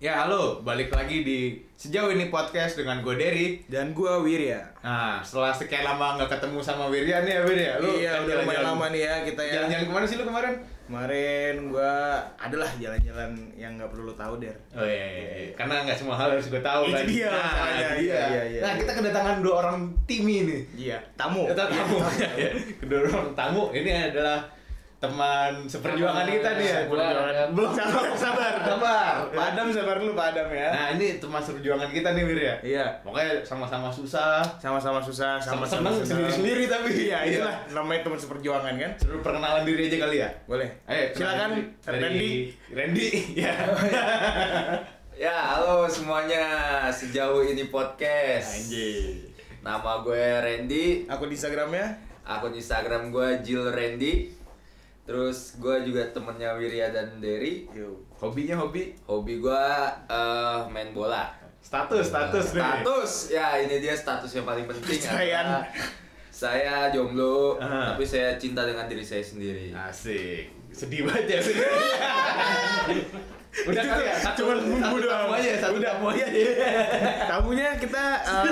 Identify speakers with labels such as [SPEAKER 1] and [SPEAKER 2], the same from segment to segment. [SPEAKER 1] Ya halo, balik lagi di sejauh ini podcast dengan gue Derry
[SPEAKER 2] Dan gua Wirya.
[SPEAKER 1] Nah, setelah sekian lama nggak ketemu sama Wirya nih ya Wirya lu
[SPEAKER 2] iya,
[SPEAKER 1] kan
[SPEAKER 2] udah lumayan
[SPEAKER 1] jalan-jalan-
[SPEAKER 2] lama nih ya kita ya.
[SPEAKER 1] Jalan-jalan kemana sih lu kemarin?
[SPEAKER 2] Kemarin gua adalah jalan-jalan yang nggak perlu lu tahu der.
[SPEAKER 1] Oh iya, iya, iya. karena nggak semua hal harus gue tahu
[SPEAKER 2] Itu
[SPEAKER 1] kan
[SPEAKER 2] dia
[SPEAKER 1] nah,
[SPEAKER 2] masalahnya,
[SPEAKER 1] itu dia.
[SPEAKER 2] iya, iya, iya.
[SPEAKER 1] Nah, kita kedatangan dua orang tim ini
[SPEAKER 2] Iya, tamu.
[SPEAKER 1] Kita tamu
[SPEAKER 2] Iya,
[SPEAKER 1] Kedua orang tamu ini adalah teman seperjuangan
[SPEAKER 3] Teman
[SPEAKER 1] kita nih ya
[SPEAKER 3] sebulan, ya.
[SPEAKER 1] Belum sabar, sabar, sabar
[SPEAKER 2] Padam sabar lu, padam ya.
[SPEAKER 1] Nah, ini teman seperjuangan kita nih Wirya
[SPEAKER 2] Iya.
[SPEAKER 1] Pokoknya sama-sama susah
[SPEAKER 2] Sama-sama susah, sama-sama
[SPEAKER 1] Seneng
[SPEAKER 2] senang.
[SPEAKER 1] sendiri-sendiri tapi Iya.
[SPEAKER 2] Iya, itulah namanya teman seperjuangan kan.
[SPEAKER 1] Seru perkenalan diri aja kali ya
[SPEAKER 2] Boleh.
[SPEAKER 1] Ayo,
[SPEAKER 2] silakan
[SPEAKER 1] kenalin
[SPEAKER 2] Randy.
[SPEAKER 1] diri. Randy, ya.
[SPEAKER 3] Ya, halo semuanya. Sejauh ini podcast.
[SPEAKER 1] Anjir.
[SPEAKER 3] Nama gue Randy.
[SPEAKER 2] Aku di Instagramnya.
[SPEAKER 3] Akun Instagram gue Jill Randy. Terus gue juga temennya Wirya dan Derry.
[SPEAKER 2] Yo.
[SPEAKER 1] Hobinya hobi
[SPEAKER 3] Hobi gue eh, main bola.
[SPEAKER 1] status, Nah, status nih.
[SPEAKER 3] Status, ya ini dia status yang paling penting.
[SPEAKER 2] Percayaan.
[SPEAKER 3] adalah Saya jomblo,
[SPEAKER 1] Ah.
[SPEAKER 3] tapi saya cinta dengan diri saya sendiri.
[SPEAKER 1] Asik. Sedih banget ya. Sedih. Udah
[SPEAKER 2] Itu
[SPEAKER 1] kali
[SPEAKER 2] tuh,
[SPEAKER 1] ya. Satu,
[SPEAKER 2] cuman
[SPEAKER 1] satu
[SPEAKER 2] bumbu doang.
[SPEAKER 1] tamu aja, satu
[SPEAKER 2] Udah.
[SPEAKER 1] tamu aja.
[SPEAKER 2] Tamunya kita eh, oh,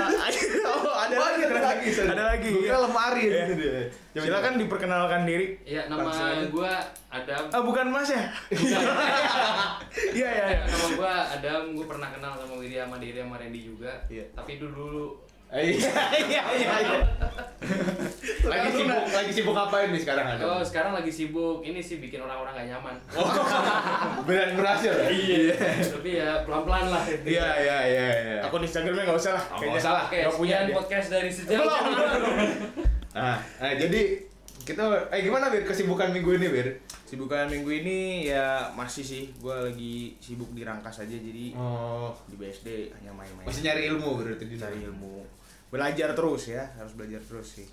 [SPEAKER 2] ada
[SPEAKER 1] Wah,
[SPEAKER 2] lagi, ada lagi. Ada lagi.
[SPEAKER 1] Gue kira lemari.
[SPEAKER 2] Iya.
[SPEAKER 1] Gitu deh. Coba,
[SPEAKER 2] Silakan diperkenalkan diri.
[SPEAKER 4] Iya, nama
[SPEAKER 2] Langsung aja.
[SPEAKER 4] gua Adam.
[SPEAKER 2] Ah, bukan Mas ya? Iya, iya, iya.
[SPEAKER 4] Nama gua Adam, gua pernah kenal sama Widya sama Diri sama Randy juga.
[SPEAKER 2] Iya.
[SPEAKER 4] Tapi dulu dulu
[SPEAKER 1] coba. Iya, iya, iya. iya. Lagi
[SPEAKER 2] Sekarang
[SPEAKER 1] sibuk, lagi sibuk ngapain nih sekarang ada?
[SPEAKER 4] Oh, sekarang lagi sibuk ini sih bikin orang-orang gak nyaman.
[SPEAKER 2] Oh.
[SPEAKER 1] Beneran berhasil. Iya.
[SPEAKER 4] Tapi ya pelan-pelan lah.
[SPEAKER 1] Iya, iya, iya, iya.
[SPEAKER 2] Akun Instagramnya nggak usah lah.
[SPEAKER 1] Oh,
[SPEAKER 2] kayaknya.
[SPEAKER 1] nggak usah lah.
[SPEAKER 4] Oke,
[SPEAKER 2] Nggak punya
[SPEAKER 4] sekian
[SPEAKER 2] dia.
[SPEAKER 4] podcast dari sejauh.
[SPEAKER 1] Nah, nah, jadi kita eh gimana Bir kesibukan minggu ini Bir?
[SPEAKER 2] Sibukan minggu ini ya masih sih. Gua lagi sibuk di rangkas aja jadi
[SPEAKER 1] Oh,
[SPEAKER 2] di BSD hanya main-main.
[SPEAKER 1] masih nyari ilmu berarti di
[SPEAKER 2] Cari ilmu. Belajar terus ya, harus belajar terus sih.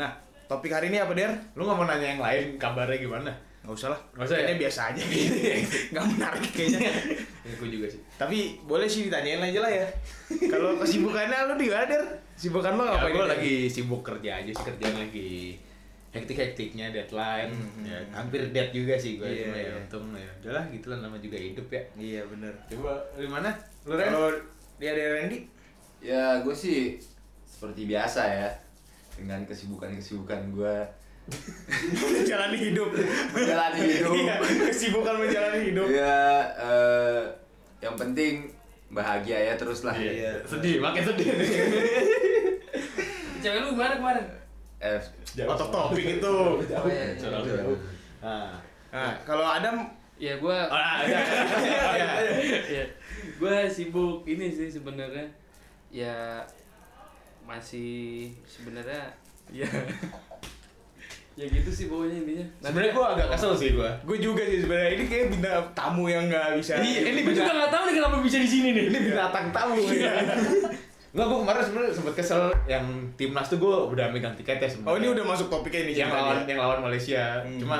[SPEAKER 2] Nah, topik hari ini apa der?
[SPEAKER 1] Lu nggak mau nanya yang lain kabarnya gimana?
[SPEAKER 2] Nggak usah lah.
[SPEAKER 1] Nggak usah ya?
[SPEAKER 2] Kayaknya biasa aja. Nggak menarik kayaknya.
[SPEAKER 1] Ya, gue juga sih.
[SPEAKER 2] Tapi boleh sih ditanyain aja lah ya. Kalau kesibukannya lu di mana der? Sibukan lo
[SPEAKER 1] Ya,
[SPEAKER 2] ngapain?
[SPEAKER 1] gue
[SPEAKER 2] Der?
[SPEAKER 1] lagi sibuk kerja aja sih kerjaan lagi hektik-hektiknya deadline,
[SPEAKER 2] Hmm,
[SPEAKER 1] ya,
[SPEAKER 2] hmm.
[SPEAKER 1] hampir dead juga sih gue.
[SPEAKER 2] Iya,
[SPEAKER 1] cuma ya
[SPEAKER 2] iya.
[SPEAKER 1] untung ya udahlah gitu lah nama juga hidup ya.
[SPEAKER 2] Iya bener.
[SPEAKER 1] Coba lu mana? Lu Ren?
[SPEAKER 2] Kalau dia dari Randy,
[SPEAKER 3] Ya, gue sih seperti biasa ya dengan kesibukan-kesibukan gue
[SPEAKER 2] menjalani hidup.
[SPEAKER 3] menjalani
[SPEAKER 2] Iya,
[SPEAKER 3] hidup.
[SPEAKER 2] kesibukan menjalani hidup.
[SPEAKER 3] Ya, eh, yang penting bahagia ya terus lah.
[SPEAKER 1] Iya.
[SPEAKER 2] Iya.
[SPEAKER 1] Sedih, makin sedih.
[SPEAKER 4] Cewek lu gimana kemarin?
[SPEAKER 3] Eh,
[SPEAKER 2] Otot topik itu.
[SPEAKER 1] Jauh,
[SPEAKER 2] ya?
[SPEAKER 4] iya, iya.
[SPEAKER 1] jauh, jauh. Ah.
[SPEAKER 2] Nah, kalau Adam
[SPEAKER 4] Ya gua
[SPEAKER 1] Ah, Iya. ada. Ada.
[SPEAKER 4] ya, gua sibuk ini sih sebenarnya. Ya masih sebenarnya ya
[SPEAKER 2] Iya.
[SPEAKER 4] ya gitu sih pokoknya intinya.
[SPEAKER 1] Sebenarnya gue agak kesel sih gue.
[SPEAKER 2] gue juga sih sebenarnya ini kayak bintang tamu yang nggak bisa.
[SPEAKER 1] Iya, ini
[SPEAKER 4] Gue juga nggak tahu nih kenapa bisa di sini nih.
[SPEAKER 1] ini binatang tamu ya. Nggak, gue kemarin sebenarnya sempet kesel yang timnas tuh gue udah megang tiketnya sebenarnya.
[SPEAKER 2] Oh ini udah masuk topiknya ini
[SPEAKER 1] yang
[SPEAKER 2] ceritanya.
[SPEAKER 1] lawan yang lawan Malaysia.
[SPEAKER 2] Hmm.
[SPEAKER 1] Cuma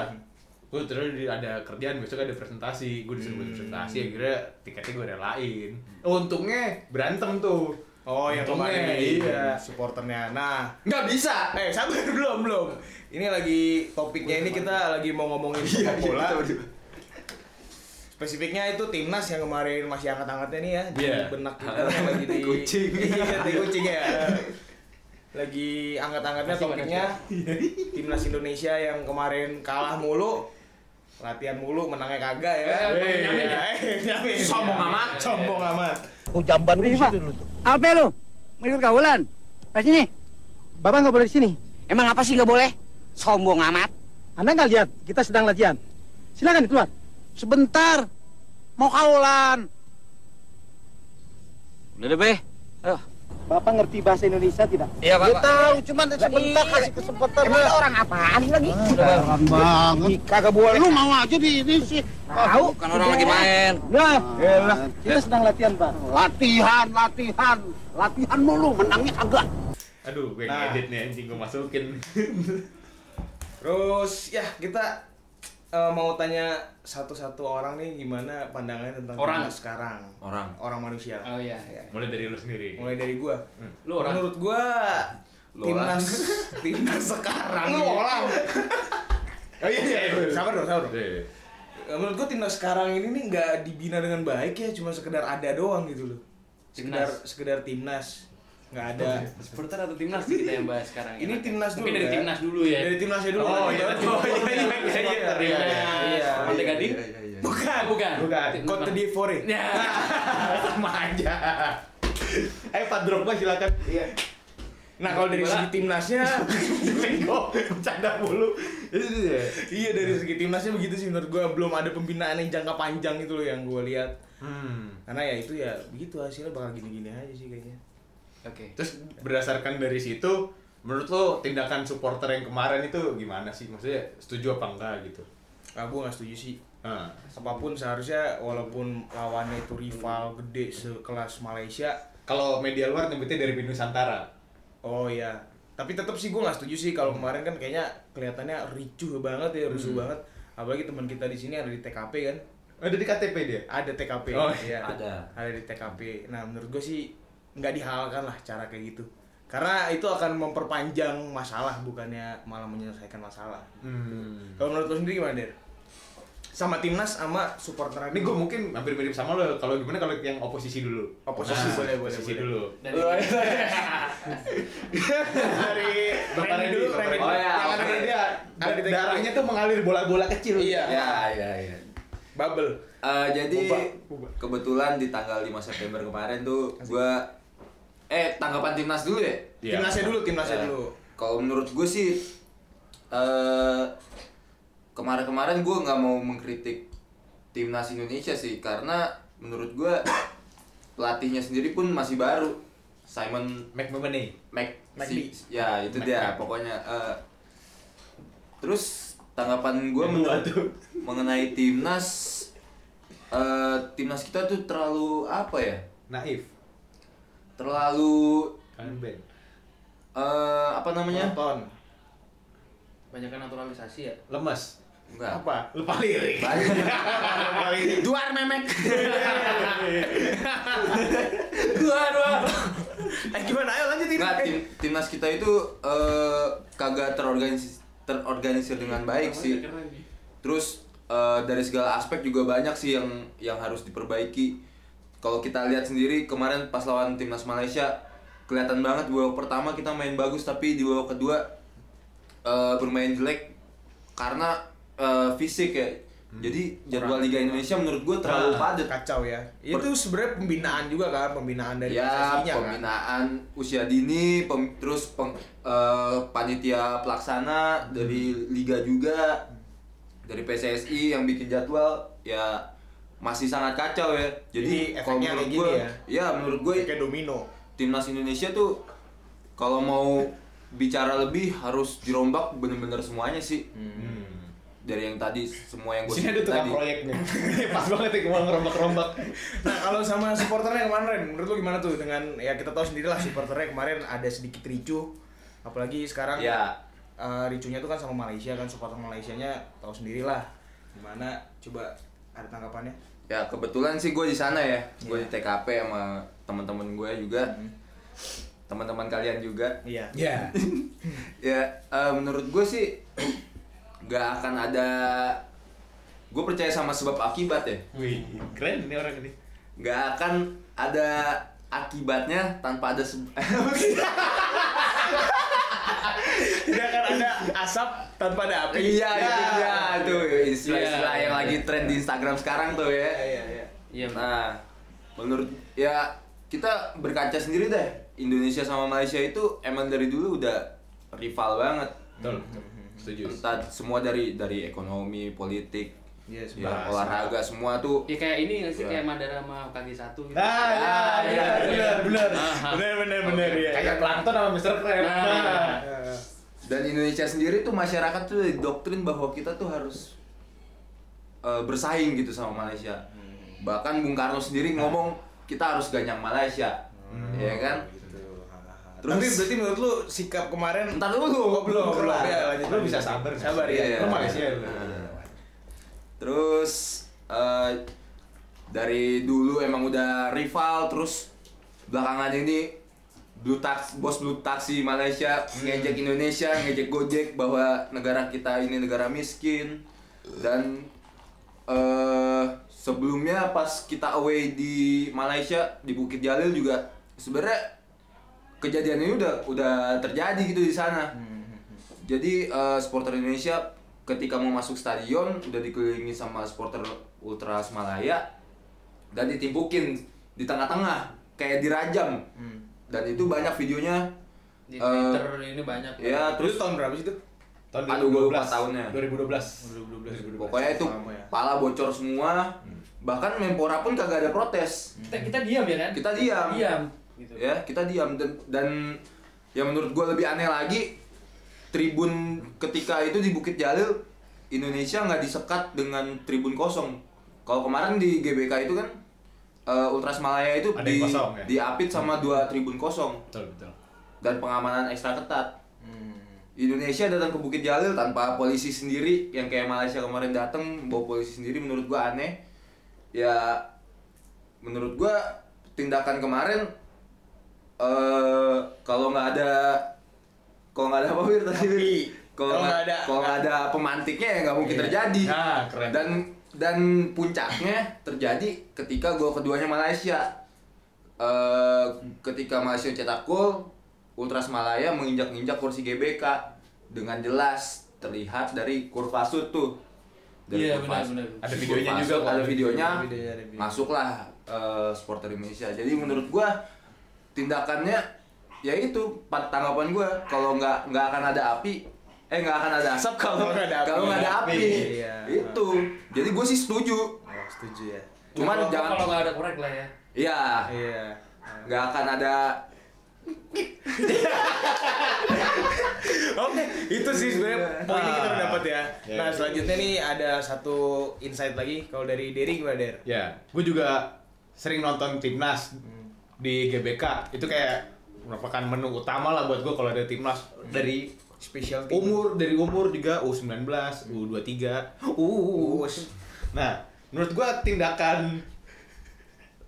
[SPEAKER 1] gue terus di- ada kerjaan besok ada presentasi, gue disuruh buat
[SPEAKER 2] Hmm.
[SPEAKER 1] presentasi, akhirnya tiketnya gue relain. Untungnya berantem tuh.
[SPEAKER 2] Oh yang
[SPEAKER 1] Untungnya,
[SPEAKER 2] kemarin ini
[SPEAKER 1] iya.
[SPEAKER 2] supporternya. Nah,
[SPEAKER 3] nggak bisa.
[SPEAKER 2] eh sabar belum belum. Ini lagi topiknya ini kita lagi mau ngomongin sepak bola. Spesifiknya itu timnas yang kemarin masih angkat-angkatnya nih ya di
[SPEAKER 1] Iya.
[SPEAKER 2] benak kita lagi di
[SPEAKER 3] Kucing.
[SPEAKER 2] Iya, di kucing ya. Lagi angkat-angkatnya
[SPEAKER 4] Masih
[SPEAKER 2] topiknya timnas Indonesia yang kemarin kalah mulu, latihan mulu, menangnya kagak ya. kan?
[SPEAKER 4] Eh,
[SPEAKER 2] Iya,
[SPEAKER 4] nyamin ya.
[SPEAKER 2] eh, nyamin.
[SPEAKER 1] Iya.
[SPEAKER 3] Sombong amat.
[SPEAKER 2] sombong amat.
[SPEAKER 5] Oh jamban lu situ lu tuh. Apa lu? Mengikut gaulan. Ke sini. Bapak nggak boleh di sini. Emang apa sih nggak boleh? Sombong amat. Anda nggak lihat kita sedang latihan. Silakan keluar. Sebentar. Mau kaulan. Udah deh, Be. Ayo.
[SPEAKER 6] Bapak ngerti bahasa Indonesia tidak?
[SPEAKER 5] Eh. Iya, Pak. Dia tahu cuma sebentar kasih kesempatan. Emang lu orang apaan lagi? Orang banget. Kagak boleh. Lu mau aja di ini sih. Tahu kan orang lagi main. Nah, elah.
[SPEAKER 6] Ya, Kita sedang latihan, Pak.
[SPEAKER 5] Latihan, latihan, latihan mulu, menangnya kagak.
[SPEAKER 1] Aduh, gue
[SPEAKER 2] Nah.
[SPEAKER 1] ngedit nih anjing gue masukin.
[SPEAKER 2] Terus ya kita eh, mau tanya satu-satu orang nih gimana pandangannya tentang
[SPEAKER 4] Orang.
[SPEAKER 2] timnas sekarang.
[SPEAKER 3] Orang.
[SPEAKER 2] Orang manusia.
[SPEAKER 4] Oh iya.
[SPEAKER 2] Ya.
[SPEAKER 1] Mulai dari lu sendiri.
[SPEAKER 2] Mulai dari gua.
[SPEAKER 4] Lu orang.
[SPEAKER 2] Menurut gua
[SPEAKER 3] Lu
[SPEAKER 2] timnas timnas sekarang.
[SPEAKER 1] Lu
[SPEAKER 2] ya.
[SPEAKER 1] orang.
[SPEAKER 2] Oh iya, iya. Sabar dong, sabar dong.
[SPEAKER 1] Iya, iya.
[SPEAKER 2] Ya, menurut gua timnas sekarang ini nih nggak dibina dengan baik ya, cuma sekedar ada doang gitu loh. Sekedar
[SPEAKER 4] Timnas.
[SPEAKER 2] sekedar timnas. Nggak ada.
[SPEAKER 4] Supporter atau timnas sih kita yang bahas sekarang.
[SPEAKER 2] Ini
[SPEAKER 4] enak.
[SPEAKER 2] timnas dulu.
[SPEAKER 4] Mungkin dari
[SPEAKER 2] ya?
[SPEAKER 4] timnas dulu ya.
[SPEAKER 2] Dari timnasnya dulu.
[SPEAKER 4] Oh,
[SPEAKER 2] kan?
[SPEAKER 4] iya, tadi.
[SPEAKER 2] Oh, iya, iya, iya, iya.
[SPEAKER 1] Iya,
[SPEAKER 4] Timnas.
[SPEAKER 1] iya,
[SPEAKER 2] iya.
[SPEAKER 4] Pantai Gading?
[SPEAKER 3] iya.
[SPEAKER 2] Bukan,
[SPEAKER 4] Bukan.
[SPEAKER 1] Bukan.
[SPEAKER 4] Timnas
[SPEAKER 2] Cote
[SPEAKER 4] mana?
[SPEAKER 2] d'Ivoire.
[SPEAKER 4] Ya.
[SPEAKER 1] sama aja eh Pak Drogba silakan iya
[SPEAKER 2] Nah, kalau dari segi timnasnya,
[SPEAKER 1] Bego, bercanda mulu Itu dia.
[SPEAKER 2] iya dari segi timnasnya begitu sih menurut gua belum ada pembinaan yang jangka panjang gitu loh yang gua lihat.
[SPEAKER 1] hmm.
[SPEAKER 2] Karena ya itu ya begitu hasilnya bakal gini-gini aja sih kayaknya.
[SPEAKER 4] Oke.
[SPEAKER 1] terus berdasarkan dari situ menurut lo tindakan supporter yang kemarin itu gimana sih maksudnya setuju apa enggak gitu
[SPEAKER 2] Nah, gua nggak setuju sih.
[SPEAKER 1] Nah,
[SPEAKER 2] Apapun seharusnya walaupun lawannya itu rival gede sekelas Malaysia,
[SPEAKER 1] kalau media luar nyebutnya dari Nusantara
[SPEAKER 2] oh ya. Tapi tetap sih gua nggak setuju sih kalau kemarin kan kayaknya kelihatannya ricuh banget ya, rusuh banget. Apalagi teman kita di sini ada di TKP kan.
[SPEAKER 1] ada Oh, di KTP dia
[SPEAKER 2] Ada TKP.
[SPEAKER 1] Oh,
[SPEAKER 2] iya.
[SPEAKER 3] ada.
[SPEAKER 2] Ada di TKP. Nah, menurut gua sih nggak dihalalkan lah cara kayak gitu. Karena itu akan memperpanjang masalah bukannya malah menyelesaikan masalah.
[SPEAKER 1] hmm.
[SPEAKER 2] Kalau menurut lo sendiri gimana, Der? Sama timnas sama supporter
[SPEAKER 1] ini gue mungkin hampir mirip sama lo kalau gimana kalau yang oposisi dulu Nah,
[SPEAKER 2] Oposisi, boleh, boleh,
[SPEAKER 1] oposisi
[SPEAKER 2] boleh.
[SPEAKER 1] dulu
[SPEAKER 4] Dan
[SPEAKER 1] dari Bapak
[SPEAKER 2] Randy
[SPEAKER 1] Randy
[SPEAKER 2] dulu,
[SPEAKER 1] dulu Bapak
[SPEAKER 2] Randy.
[SPEAKER 1] Randy.
[SPEAKER 3] Oh, ya.
[SPEAKER 1] Yang ada dia
[SPEAKER 2] Ada di
[SPEAKER 1] Nah, darahnya tuh mengalir bola-bola kecil
[SPEAKER 2] Iya.
[SPEAKER 3] Ya, ya, ya.
[SPEAKER 2] Bubble.
[SPEAKER 3] Eh, jadi
[SPEAKER 2] Boba, boba.
[SPEAKER 3] kebetulan di tanggal 5 September kemarin tuh gua eh tanggapan timnas dulu ya.
[SPEAKER 1] Iya.
[SPEAKER 2] Timnasnya dulu, timnasnya
[SPEAKER 3] Ya.
[SPEAKER 2] dulu.
[SPEAKER 3] Kalau menurut gue sih eh kemarin-kemarin gue nggak mau mengkritik timnas Indonesia sih karena menurut gue pelatihnya sendiri pun masih baru Simon
[SPEAKER 1] McMomoney
[SPEAKER 3] Mac,
[SPEAKER 2] Mac
[SPEAKER 3] si-
[SPEAKER 2] D.
[SPEAKER 3] ya itu
[SPEAKER 1] Mac
[SPEAKER 3] dia
[SPEAKER 1] D.
[SPEAKER 3] pokoknya eh, terus tanggapan gue
[SPEAKER 1] Yang dua tuh.
[SPEAKER 3] mengenai timnas eh, timnas kita tuh terlalu apa ya
[SPEAKER 1] Naif
[SPEAKER 3] terlalu
[SPEAKER 1] kalian band
[SPEAKER 3] eh, apa namanya
[SPEAKER 2] Nonton.
[SPEAKER 4] banyakkan naturalisasi ya.
[SPEAKER 1] lemes
[SPEAKER 3] enggak
[SPEAKER 2] Apa?
[SPEAKER 1] lupa lirik lupa lirik
[SPEAKER 2] Duar memek.
[SPEAKER 4] Dua, dua.
[SPEAKER 2] eh gimana? Ayo lanjutin.
[SPEAKER 3] Nggak, tim, timnas kita itu eh, kagak terorganisir terorganisir dengan baik sih. Terus eh, dari segala aspek juga banyak sih yang yang harus diperbaiki. Kalau kita lihat sendiri kemarin pas lawan timnas Malaysia kelihatan banget di babak pertama kita main bagus tapi di babak kedua eh, bermain jelek karena eh, fisik ya. Jadi jadwal Liga Indonesia menurut gue terlalu
[SPEAKER 1] Nah,
[SPEAKER 3] padat.
[SPEAKER 2] Kacau ya. Itu sebenarnya pembinaan juga kan, pembinaan dari
[SPEAKER 3] ya
[SPEAKER 2] PSSI-nya kan.
[SPEAKER 3] pembinaan usia dini pem- terus peng- eh, panitia pelaksana dari
[SPEAKER 2] Hmm.
[SPEAKER 3] liga juga dari PSSI yang bikin jadwal ya masih sangat kacau ya jadi,
[SPEAKER 2] Jadi
[SPEAKER 3] kalau
[SPEAKER 2] efeknya
[SPEAKER 3] menurut
[SPEAKER 2] kayak
[SPEAKER 3] gue
[SPEAKER 2] gini
[SPEAKER 3] ya. menurut gue
[SPEAKER 2] Kayak domino.
[SPEAKER 3] timnas Indonesia tuh kalau mau bicara lebih harus dirombak bener-bener semuanya sih
[SPEAKER 2] Hmm.
[SPEAKER 3] dari yang tadi semua yang
[SPEAKER 1] Di
[SPEAKER 3] gue
[SPEAKER 1] Hmm. sini ada tukang proyeknya pas banget ya mau ngerombak-rombak
[SPEAKER 2] Nah kalau sama supporternya kemarin, Ren, menurut lu gimana tuh dengan ya kita tahu sendiri lah supporternya kemarin ada sedikit ricuh, apalagi sekarang
[SPEAKER 3] ya
[SPEAKER 2] eh, ricuhnya tuh kan sama Malaysia kan supporter Malaysianya tahu sendiri lah gimana coba ada tanggapannya?
[SPEAKER 3] Ya kebetulan sih gue di sana ya, gue
[SPEAKER 2] Iya.
[SPEAKER 3] di TKP sama teman-teman gue juga, teman-teman kalian juga.
[SPEAKER 2] Iya.
[SPEAKER 1] ya
[SPEAKER 3] Ya eh, menurut gue sih nggak akan ada, gue percaya sama sebab akibat ya,
[SPEAKER 1] wih keren ini orang ini
[SPEAKER 3] nggak akan ada akibatnya tanpa ada sebab.
[SPEAKER 2] Tidak akan ada asap tanpa ada api.
[SPEAKER 3] iya itu dia tuh istilah-istilah
[SPEAKER 4] Iya.
[SPEAKER 3] yang lagi tren di Instagram sekarang tuh ya.
[SPEAKER 2] Iya iya.
[SPEAKER 4] Iya.
[SPEAKER 3] Nah, menurut ya kita berkaca sendiri deh. Indonesia sama Malaysia itu emang dari dulu udah rival banget.
[SPEAKER 1] betul setuju
[SPEAKER 3] Entah semua dari dari ekonomi, politik,
[SPEAKER 2] Iya
[SPEAKER 3] ya,
[SPEAKER 2] sebenarnya.
[SPEAKER 3] olahraga semua tuh.
[SPEAKER 4] Ya kayak ini nggak sih
[SPEAKER 3] Dua.
[SPEAKER 4] kayak Mandara sama kaki satu gitu.
[SPEAKER 1] ah ya
[SPEAKER 3] iya,
[SPEAKER 1] benar
[SPEAKER 4] iya.
[SPEAKER 1] benar benar
[SPEAKER 4] Aha.
[SPEAKER 2] Ah.
[SPEAKER 1] benar benar benar
[SPEAKER 4] Oke.
[SPEAKER 1] ya kayak plankton sama Mr. Krabs
[SPEAKER 4] Nah.
[SPEAKER 1] Nah.
[SPEAKER 3] Dan Indonesia sendiri tuh masyarakat tuh didoktrin bahwa kita tuh harus eh, bersaing gitu sama Malaysia.
[SPEAKER 2] Hmm.
[SPEAKER 3] Bahkan Bung Karno sendiri ngomong kita harus ganyang Malaysia. Iya kan?
[SPEAKER 2] Gitu. Ha, ha, ha.
[SPEAKER 3] Terus-
[SPEAKER 2] Tapi berarti menurut lu sikap kemarin
[SPEAKER 3] Entar dulu.
[SPEAKER 2] Oh, belum, belum. Ya, lanjut.
[SPEAKER 1] Lu bisa sabar.
[SPEAKER 2] Sabar ya.
[SPEAKER 3] Iya.
[SPEAKER 1] Lu Malaysia lu.
[SPEAKER 3] Nah. Terus eh, dari dulu emang udah rival terus belakangan ini Blue Tax, bos Blue Taxi Malaysia ngejek Indonesia, ngejek Gojek bahwa negara kita ini negara miskin dan eh sebelumnya pas kita away di Malaysia di Bukit Jalil juga sebenarnya kejadian ini udah udah terjadi gitu di sana. Jadi eh, supporter Indonesia ketika mau masuk stadion udah dikelilingi sama supporter Ultras Malaya dan ditimpukin di tengah-tengah kayak dirajam.
[SPEAKER 2] Hmm.
[SPEAKER 3] Dan itu banyak videonya. eh,
[SPEAKER 4] Di Twitter ini banyak.
[SPEAKER 3] ya
[SPEAKER 2] Terus
[SPEAKER 3] terus
[SPEAKER 2] tahun berapa sih itu?
[SPEAKER 1] Tahun
[SPEAKER 3] Aduh, gua lupa tahunnya.
[SPEAKER 1] 2012. 2012.
[SPEAKER 3] pokoknya itu
[SPEAKER 2] Sama ya.
[SPEAKER 3] pala bocor semua.
[SPEAKER 2] Hmm.
[SPEAKER 3] Bahkan Menpora pun kagak ada protes.
[SPEAKER 4] Kita, kita diam ya kan?
[SPEAKER 3] Kita diam.
[SPEAKER 4] Diam. Gitu.
[SPEAKER 3] ya kita diam dan, dan yang menurut gue lebih aneh lagi tribun ketika itu di Bukit Jalil Indonesia nggak disekat dengan tribun kosong kalau kemarin di GBK itu kan eh, Ultras Malaya itu
[SPEAKER 1] Ada
[SPEAKER 3] di,
[SPEAKER 1] yang kosong, ya?
[SPEAKER 3] diapit sama dua tribun kosong
[SPEAKER 1] Betul, betul.
[SPEAKER 3] dan pengamanan ekstra ketat Hmm. Indonesia datang ke Bukit Jalil tanpa polisi sendiri yang kayak Malaysia kemarin datang bawa polisi sendiri menurut gua aneh ya menurut gua tindakan kemarin eh kalau nggak ada kalau nggak ada apa Wir, tadi Wir?
[SPEAKER 2] kalau
[SPEAKER 3] kalau nggak
[SPEAKER 2] nggak ada-
[SPEAKER 3] kalau nggak ada pemantiknya ya nggak mungkin terjadi
[SPEAKER 1] Nah, keren.
[SPEAKER 3] dan dan puncaknya terjadi ketika gol keduanya Malaysia Eh, ketika Malaysia cetak gol Ultras Malaya menginjak-injak kursi GBK dengan jelas terlihat dari kurva sud tuh Dari
[SPEAKER 4] Iya,
[SPEAKER 3] kurva
[SPEAKER 4] benar,
[SPEAKER 3] sud.
[SPEAKER 4] benar.
[SPEAKER 1] Ada videonya juga
[SPEAKER 3] Kurva
[SPEAKER 1] kan?
[SPEAKER 3] sud,
[SPEAKER 1] kok.
[SPEAKER 3] ada videonya
[SPEAKER 2] Ada videonya, ada videonya.
[SPEAKER 3] masuklah eh, supporter Indonesia jadi menurut gua tindakannya ya itu pat- tanggapan gua kalau nggak nggak akan ada api eh nggak akan ada asap
[SPEAKER 2] Kalau
[SPEAKER 3] kalau
[SPEAKER 2] nggak ada api.
[SPEAKER 3] kalau nggak ada api
[SPEAKER 2] Iya.
[SPEAKER 3] itu jadi gue sih setuju
[SPEAKER 2] Oh, setuju ya.
[SPEAKER 3] cuman
[SPEAKER 4] Kalau-
[SPEAKER 3] jangan
[SPEAKER 4] kalau nggak ada korek lah ya.
[SPEAKER 3] iya
[SPEAKER 2] Iya.
[SPEAKER 3] nggak akan ada
[SPEAKER 2] Oke, itu sih sebenarnya poinnya kita udah dapat ya.
[SPEAKER 1] Ya.
[SPEAKER 2] Nah, selanjutnya nih ada satu insight lagi kalau dari Derry gimana, Der?
[SPEAKER 1] Ya, gue juga sering nonton timnas di GBK. Itu kayak merupakan menu utama lah buat gue kalau ada timnas dari
[SPEAKER 2] Special team.
[SPEAKER 1] umur dari umur juga U19, U23, U. Nah, menurut gua tindakan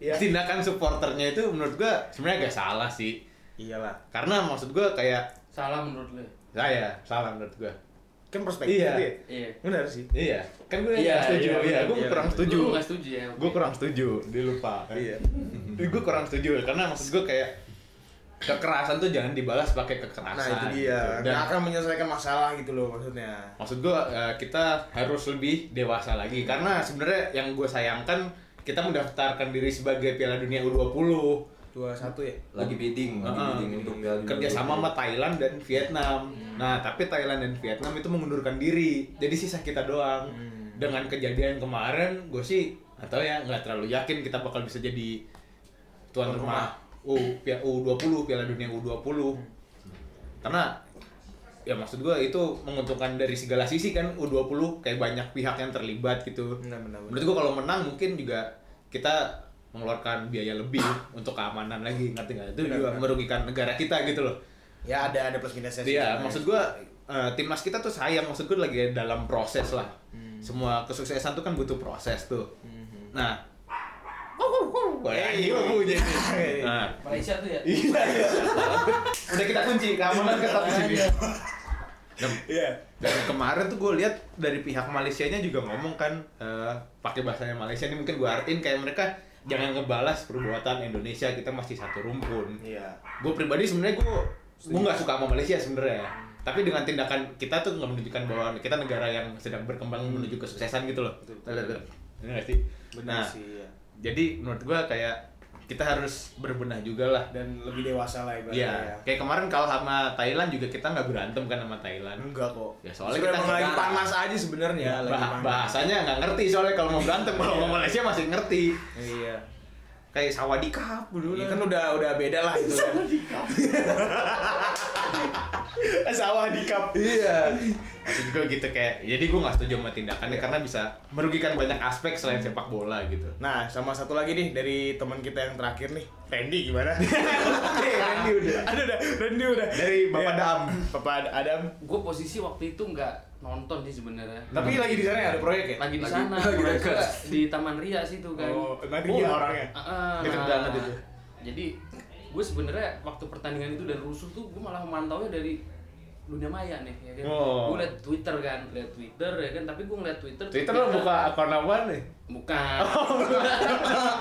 [SPEAKER 4] Iya.
[SPEAKER 1] tindakan supporternya itu menurut gua sebenarnya agak salah sih.
[SPEAKER 2] Iyalah.
[SPEAKER 1] Karena maksud gua kayak
[SPEAKER 4] Salah menurut lu.
[SPEAKER 1] saya salah menurut gua.
[SPEAKER 2] Kan perspektif
[SPEAKER 1] Iya.
[SPEAKER 2] gitu ya.
[SPEAKER 4] Iya.
[SPEAKER 2] Benar sih.
[SPEAKER 1] Iya, kan gue
[SPEAKER 4] Iya,
[SPEAKER 1] setuju.
[SPEAKER 4] iya,
[SPEAKER 1] Iya, gue
[SPEAKER 2] iya.
[SPEAKER 1] kurang setuju.
[SPEAKER 4] Lu nggak setuju ya?
[SPEAKER 1] gue kurang setuju dia lupa iya gue kurang setuju karena maksud gue kayak kekerasan tuh jangan dibalas pakai kekerasan
[SPEAKER 2] Nah, itu dia.
[SPEAKER 1] gitu. dan
[SPEAKER 2] Nggak akan menyelesaikan masalah gitu loh maksudnya.
[SPEAKER 1] maksud gue kita harus lebih dewasa lagi karena sebenarnya yang gue sayangkan kita mendaftarkan diri sebagai Piala Dunia U20
[SPEAKER 2] Dua satu ya.
[SPEAKER 3] lagi bidding lagi
[SPEAKER 1] Heeh.
[SPEAKER 3] bidding untuk Piala Dunia.
[SPEAKER 1] kerjasama sama Thailand dan Vietnam. Nah, tapi Thailand dan Vietnam itu mengundurkan diri. Jadi sisa kita doang.
[SPEAKER 2] Hmm.
[SPEAKER 1] Dengan kejadian kemarin, gue sih atau ya nggak terlalu yakin kita bakal bisa jadi tuan rumah U Pia- U20 Piala Dunia U20. Karena ya maksud gue itu menguntungkan dari segala sisi kan U20 kayak banyak pihak yang terlibat gitu.
[SPEAKER 2] Benar, benar, benar.
[SPEAKER 1] Menurut gue kalau menang mungkin juga kita mengeluarkan biaya lebih untuk keamanan lagi ngerti nggak itu juga merugikan negara kita gitu loh
[SPEAKER 2] Ya ada ada plus minusnya sih.
[SPEAKER 1] Iya, maksud gua eh, timnas kita tuh sayang, maksud gua lagi dalam proses lah. Semua kesuksesan tuh kan butuh proses tuh. Nah, Hey, wuh, jadi. Nah,
[SPEAKER 4] Malaysia tuh ya.
[SPEAKER 1] iya, iya. udah kita kunci keamanan ketat di sini.
[SPEAKER 2] Iya.
[SPEAKER 1] Dan kemarin tuh gue lihat dari pihak Malaysianya juga ngomong kan eh, pakai bahasanya Malaysia ini mungkin gue artiin kayak mereka jangan ngebalas perbuatan Indonesia kita masih satu rumpun
[SPEAKER 2] Iya.
[SPEAKER 1] gue pribadi sebenarnya gue gue nggak suka sama Malaysia sebenarnya tapi dengan tindakan kita tuh nggak menunjukkan bahwa kita negara yang sedang berkembang
[SPEAKER 2] Hmm.
[SPEAKER 1] menuju kesuksesan gitu loh Bener nggak sih
[SPEAKER 2] Benar
[SPEAKER 1] nah
[SPEAKER 2] sih ya.
[SPEAKER 1] jadi menurut gue kayak kita harus berbenah juga lah
[SPEAKER 2] Dan lebih dewasa lah ibaratnya. ya.
[SPEAKER 1] Iya, kayak kemarin kalau sama Thailand juga kita nggak berantem kan sama Thailand.
[SPEAKER 2] Enggak kok.
[SPEAKER 1] Ya, soalnya
[SPEAKER 2] Justru
[SPEAKER 1] kita
[SPEAKER 2] emang lagi
[SPEAKER 1] saudara.
[SPEAKER 2] panas aja sebenarnya, Hmm, iya, lagi
[SPEAKER 1] Bah-
[SPEAKER 2] panas.
[SPEAKER 1] bahasanya nggak ngerti soalnya kalau mau berantem kalau sama Malaysia masih ngerti.
[SPEAKER 2] Iya.
[SPEAKER 1] Kayak sawadikap dulu
[SPEAKER 2] Iya
[SPEAKER 1] lah.
[SPEAKER 2] kan udah udah beda lah itu. kan.
[SPEAKER 1] sawah di cup iya maksud gue gitu kayak jadi gue nggak setuju sama tindakannya
[SPEAKER 2] Iya.
[SPEAKER 1] karena bisa merugikan banyak aspek selain sepak bola gitu
[SPEAKER 2] Hmm. Nah, sama satu lagi nih dari teman kita yang terakhir nih, Randy gimana?
[SPEAKER 1] Randy udah.
[SPEAKER 2] Ada udah, Randy udah.
[SPEAKER 1] Dari Bapak
[SPEAKER 2] Iya.
[SPEAKER 1] Dam.
[SPEAKER 2] Bapak Ad- Adam.
[SPEAKER 4] Gue posisi waktu itu nggak nonton sih sebenarnya.
[SPEAKER 2] Tapi lagi di sana ya, ada proyek ya?
[SPEAKER 4] Lagi di
[SPEAKER 3] Lagi-
[SPEAKER 4] sana.
[SPEAKER 3] lagi
[SPEAKER 4] Malaysia
[SPEAKER 3] dekat.
[SPEAKER 4] Di Taman Ria situ kan.
[SPEAKER 2] Oh, nanti dia orangnya.
[SPEAKER 4] Ah,
[SPEAKER 1] Deket
[SPEAKER 4] nah,
[SPEAKER 1] banget itu.
[SPEAKER 4] Jadi gue sebenarnya waktu pertandingan itu dan rusuh tuh gue malah memantaunya dari dunia maya nih ya kan
[SPEAKER 1] Oh.
[SPEAKER 4] gue liat Twitter kan liat Twitter ya kan tapi gue ngeliat Twitter tuh
[SPEAKER 1] Twitter
[SPEAKER 4] kita-
[SPEAKER 1] lo buka akun apa nih?
[SPEAKER 4] bukan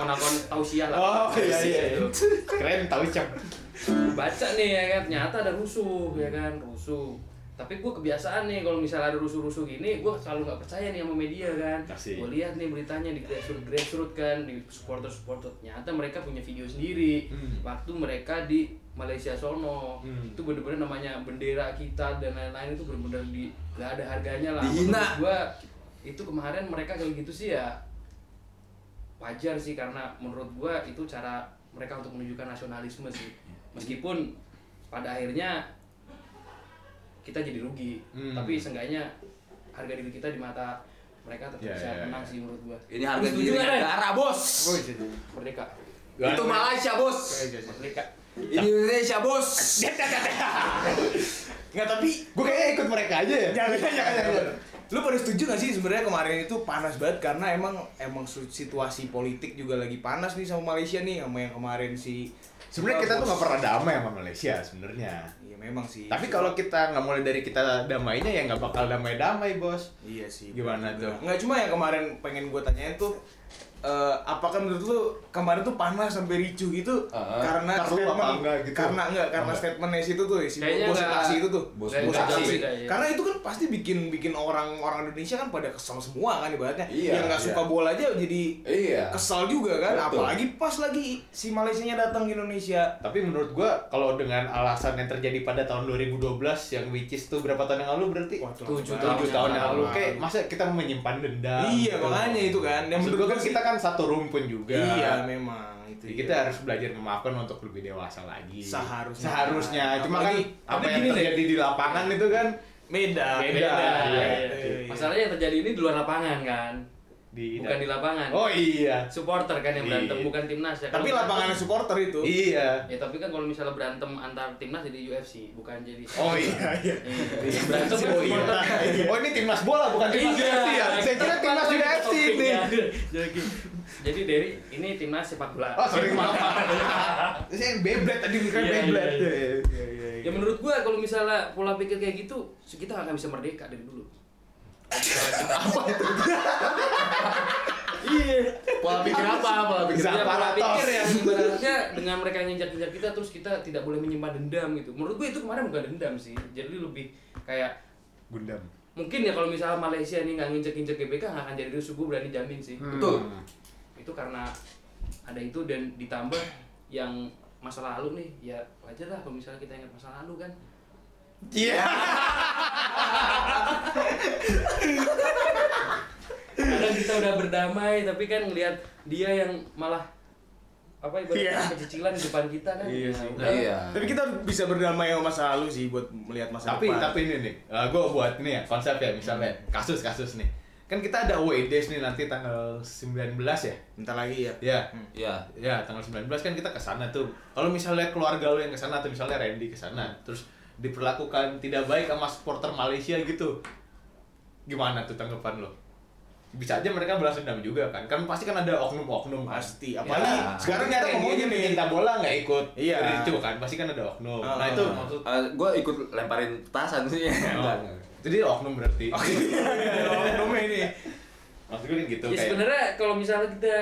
[SPEAKER 4] akun-akun tausiah
[SPEAKER 1] Oh
[SPEAKER 4] lah
[SPEAKER 1] iya iya.
[SPEAKER 4] Tausiah
[SPEAKER 1] iya.
[SPEAKER 4] tuh.
[SPEAKER 1] Keren tahu cek.
[SPEAKER 4] Gua baca nih ya kan ternyata ada rusuh ya kan rusuh tapi gue kebiasaan nih kalau misalnya ada rusuh-rusuh gini gue selalu nggak percaya nih sama media kan
[SPEAKER 1] Pasti.
[SPEAKER 4] gue lihat nih beritanya di grassroots grassroots kan di supporter supporter ternyata mereka punya video sendiri
[SPEAKER 1] Hmm.
[SPEAKER 4] waktu mereka di Malaysia Sono
[SPEAKER 1] Hmm.
[SPEAKER 4] itu bener-bener namanya bendera kita dan lain-lain itu bener-bener di nggak ada harganya lah
[SPEAKER 3] Dihina.
[SPEAKER 4] gue itu kemarin mereka kayak gitu sih ya wajar sih karena menurut gua itu cara mereka untuk menunjukkan nasionalisme sih meskipun pada akhirnya kita jadi rugi
[SPEAKER 1] Hmm.
[SPEAKER 4] tapi seenggaknya harga diri kita di mata mereka
[SPEAKER 1] Ya,
[SPEAKER 4] tetap bisa
[SPEAKER 1] ya, ya.
[SPEAKER 4] menang sih menurut gua
[SPEAKER 3] Ini harga
[SPEAKER 4] Lu
[SPEAKER 3] diri
[SPEAKER 4] setuju nggak, Ren?
[SPEAKER 3] negara, Bos.
[SPEAKER 1] Oh, iya
[SPEAKER 4] merdeka
[SPEAKER 3] Itu Malaysia, Bos.
[SPEAKER 4] merdeka
[SPEAKER 3] Ini Indonesia, Bos.
[SPEAKER 1] Enggak tapi gue kayaknya ikut mereka aja ya.
[SPEAKER 2] Jangan, jangan, jangan. Lu pada setuju gak sih sebenarnya kemarin itu panas banget karena emang emang su- situasi politik juga lagi panas nih sama Malaysia nih sama yang kemarin si
[SPEAKER 1] Sebenarnya kita tuh nggak pernah damai sama Malaysia sebenarnya.
[SPEAKER 2] Iya memang sih.
[SPEAKER 1] Tapi kalau kita nggak mulai dari kita damainya ya nggak bakal damai-damai bos.
[SPEAKER 2] Iya sih.
[SPEAKER 1] Gimana tuh?
[SPEAKER 2] Nggak cuma yang kemarin pengen gue tanyain tuh eh, apakah menurut lu kemarin tuh panas sampai ricuh gitu
[SPEAKER 3] Heeh.
[SPEAKER 2] karena
[SPEAKER 1] Ntar lu apa enggak gitu?
[SPEAKER 2] karena enggak karena
[SPEAKER 1] Enggak.
[SPEAKER 2] statementnya situ tuh si
[SPEAKER 4] Kayaknya
[SPEAKER 2] bos
[SPEAKER 4] enggak.
[SPEAKER 2] taksi itu tuh
[SPEAKER 3] Bos
[SPEAKER 4] Kayaknya
[SPEAKER 3] bos
[SPEAKER 4] enggak
[SPEAKER 3] taksi.
[SPEAKER 4] beda ya.
[SPEAKER 2] karena itu kan pasti bikin bikin orang orang Indonesia kan pada kesel semua kan ibaratnya
[SPEAKER 3] Iya,
[SPEAKER 2] yang nggak
[SPEAKER 3] iya.
[SPEAKER 2] suka bola aja jadi
[SPEAKER 3] Iya.
[SPEAKER 2] kesel juga kan
[SPEAKER 3] Betul.
[SPEAKER 2] apalagi pas lagi si Malaysia nya datang ke Indonesia
[SPEAKER 1] Tapi menurut gue kalau dengan alasan yang terjadi pada tahun 2012 yang which is tuh berapa tahun yang lalu berarti?
[SPEAKER 2] Waduh,
[SPEAKER 4] Tujuh
[SPEAKER 2] lama
[SPEAKER 1] Tujuh
[SPEAKER 2] banget.
[SPEAKER 1] tahun yang lalu.
[SPEAKER 2] Lama.
[SPEAKER 1] Kayak masa kita mau menyimpan dendam?
[SPEAKER 2] iya makanya itu kan
[SPEAKER 1] Yang menurut
[SPEAKER 2] yang menurut
[SPEAKER 1] gue kan
[SPEAKER 2] gua
[SPEAKER 1] kita kan satu rumpun juga.
[SPEAKER 2] iya memang itu iya.
[SPEAKER 1] Jadi
[SPEAKER 2] dia.
[SPEAKER 1] kita harus belajar memaafkan untuk lebih dewasa lagi.
[SPEAKER 2] Seharusnya.
[SPEAKER 1] Seharusnya. Cuma kan
[SPEAKER 2] Apalagi-
[SPEAKER 1] apa
[SPEAKER 2] tapi
[SPEAKER 1] yang
[SPEAKER 2] gini deh.
[SPEAKER 1] terjadi di lapangan itu kan
[SPEAKER 2] Medan
[SPEAKER 1] Beda,
[SPEAKER 4] beda
[SPEAKER 1] iya.
[SPEAKER 4] masalahnya yang terjadi ini di luar lapangan kan
[SPEAKER 1] di
[SPEAKER 4] bukan di lapangan
[SPEAKER 1] Oh iya.
[SPEAKER 4] supporter kan yang
[SPEAKER 1] Di-
[SPEAKER 4] berantem bukan timnas ya
[SPEAKER 2] tapi
[SPEAKER 4] Kalau-
[SPEAKER 2] lapangan supporter itu
[SPEAKER 1] Iya.
[SPEAKER 4] ya tapi kan kalau misalnya berantem antar timnas jadi UFC bukan jadi
[SPEAKER 1] Oh iya iya.
[SPEAKER 4] Iya, berantem
[SPEAKER 1] Oh iya.
[SPEAKER 4] supporter.
[SPEAKER 1] Oh ini timnas bola bukan timnas
[SPEAKER 4] Iya.
[SPEAKER 1] UFC ya. Saya kira timnas
[SPEAKER 4] Topik
[SPEAKER 1] UFC ini.
[SPEAKER 4] ya. Jadi, jadi dari ini timnas sepak bola.
[SPEAKER 1] Oh sorry maaf. Saya yang beblet tadi bukan
[SPEAKER 4] Iya, iya,
[SPEAKER 1] beblet.
[SPEAKER 4] iya. Ya menurut gua kalau misalnya pola pikir kayak gitu, kita nggak akan bisa merdeka dari dulu.
[SPEAKER 3] Pola pikir apa? Pola pikir
[SPEAKER 4] Ya, Iya. pola
[SPEAKER 1] Zaparatos.
[SPEAKER 4] pikir yang ibaratnya dengan mereka nginjak-injak kita terus kita tidak boleh menyimpan dendam gitu. Menurut gua itu kemarin bukan dendam sih. Jadi lebih kayak
[SPEAKER 1] Gundam.
[SPEAKER 4] mungkin ya kalau misalnya Malaysia nih nggak nginjek-injek GBK nggak akan jadi rusuh gua berani jamin sih.
[SPEAKER 1] Hmm.
[SPEAKER 3] Betul.
[SPEAKER 4] itu karena ada itu dan ditambah yang masa lalu nih ya wajar lah kalau misalnya kita ingat masa lalu kan
[SPEAKER 1] Iya.
[SPEAKER 4] kadang kita udah berdamai tapi kan ngelihat dia yang malah apa ibaratnya kecicilan di depan kita kan
[SPEAKER 2] Iya
[SPEAKER 4] Ya,
[SPEAKER 2] sih.
[SPEAKER 4] udah.
[SPEAKER 3] Iya.
[SPEAKER 2] tapi kita bisa berdamai sama masa lalu sih buat melihat masa
[SPEAKER 1] tapi
[SPEAKER 2] depan
[SPEAKER 1] tapi ini nih gue buat nih ya konsep ya misalnya kasus kasus nih kan kita ada away days nih nanti tanggal 19 ya
[SPEAKER 2] bentar lagi ya
[SPEAKER 1] ya
[SPEAKER 3] Iya.
[SPEAKER 1] ya tanggal 19 kan kita ke sana tuh kalau misalnya keluarga lo yang ke sana atau misalnya Randy ke sana terus diperlakukan tidak baik sama supporter Malaysia gitu gimana tuh tanggapan lo bisa aja mereka balas dendam juga kan kan pasti kan ada oknum-oknum kan?
[SPEAKER 2] Pasti, apalagi
[SPEAKER 1] sekarang
[SPEAKER 2] sekarang
[SPEAKER 1] kita
[SPEAKER 2] Randy
[SPEAKER 1] ngomongin
[SPEAKER 2] aja nih.
[SPEAKER 1] nih bola nggak ikut
[SPEAKER 2] Iya.
[SPEAKER 1] itu kan pasti kan ada oknum nah
[SPEAKER 2] Ah.
[SPEAKER 1] itu maksud
[SPEAKER 3] gue Eh, ikut lemparin petasan sih.
[SPEAKER 1] Oh. jadi oknum berarti
[SPEAKER 2] Oknumnya Iya. ini
[SPEAKER 1] Maksud gue gitu
[SPEAKER 4] ya
[SPEAKER 1] kayak
[SPEAKER 4] sebenarnya kalau misalnya kita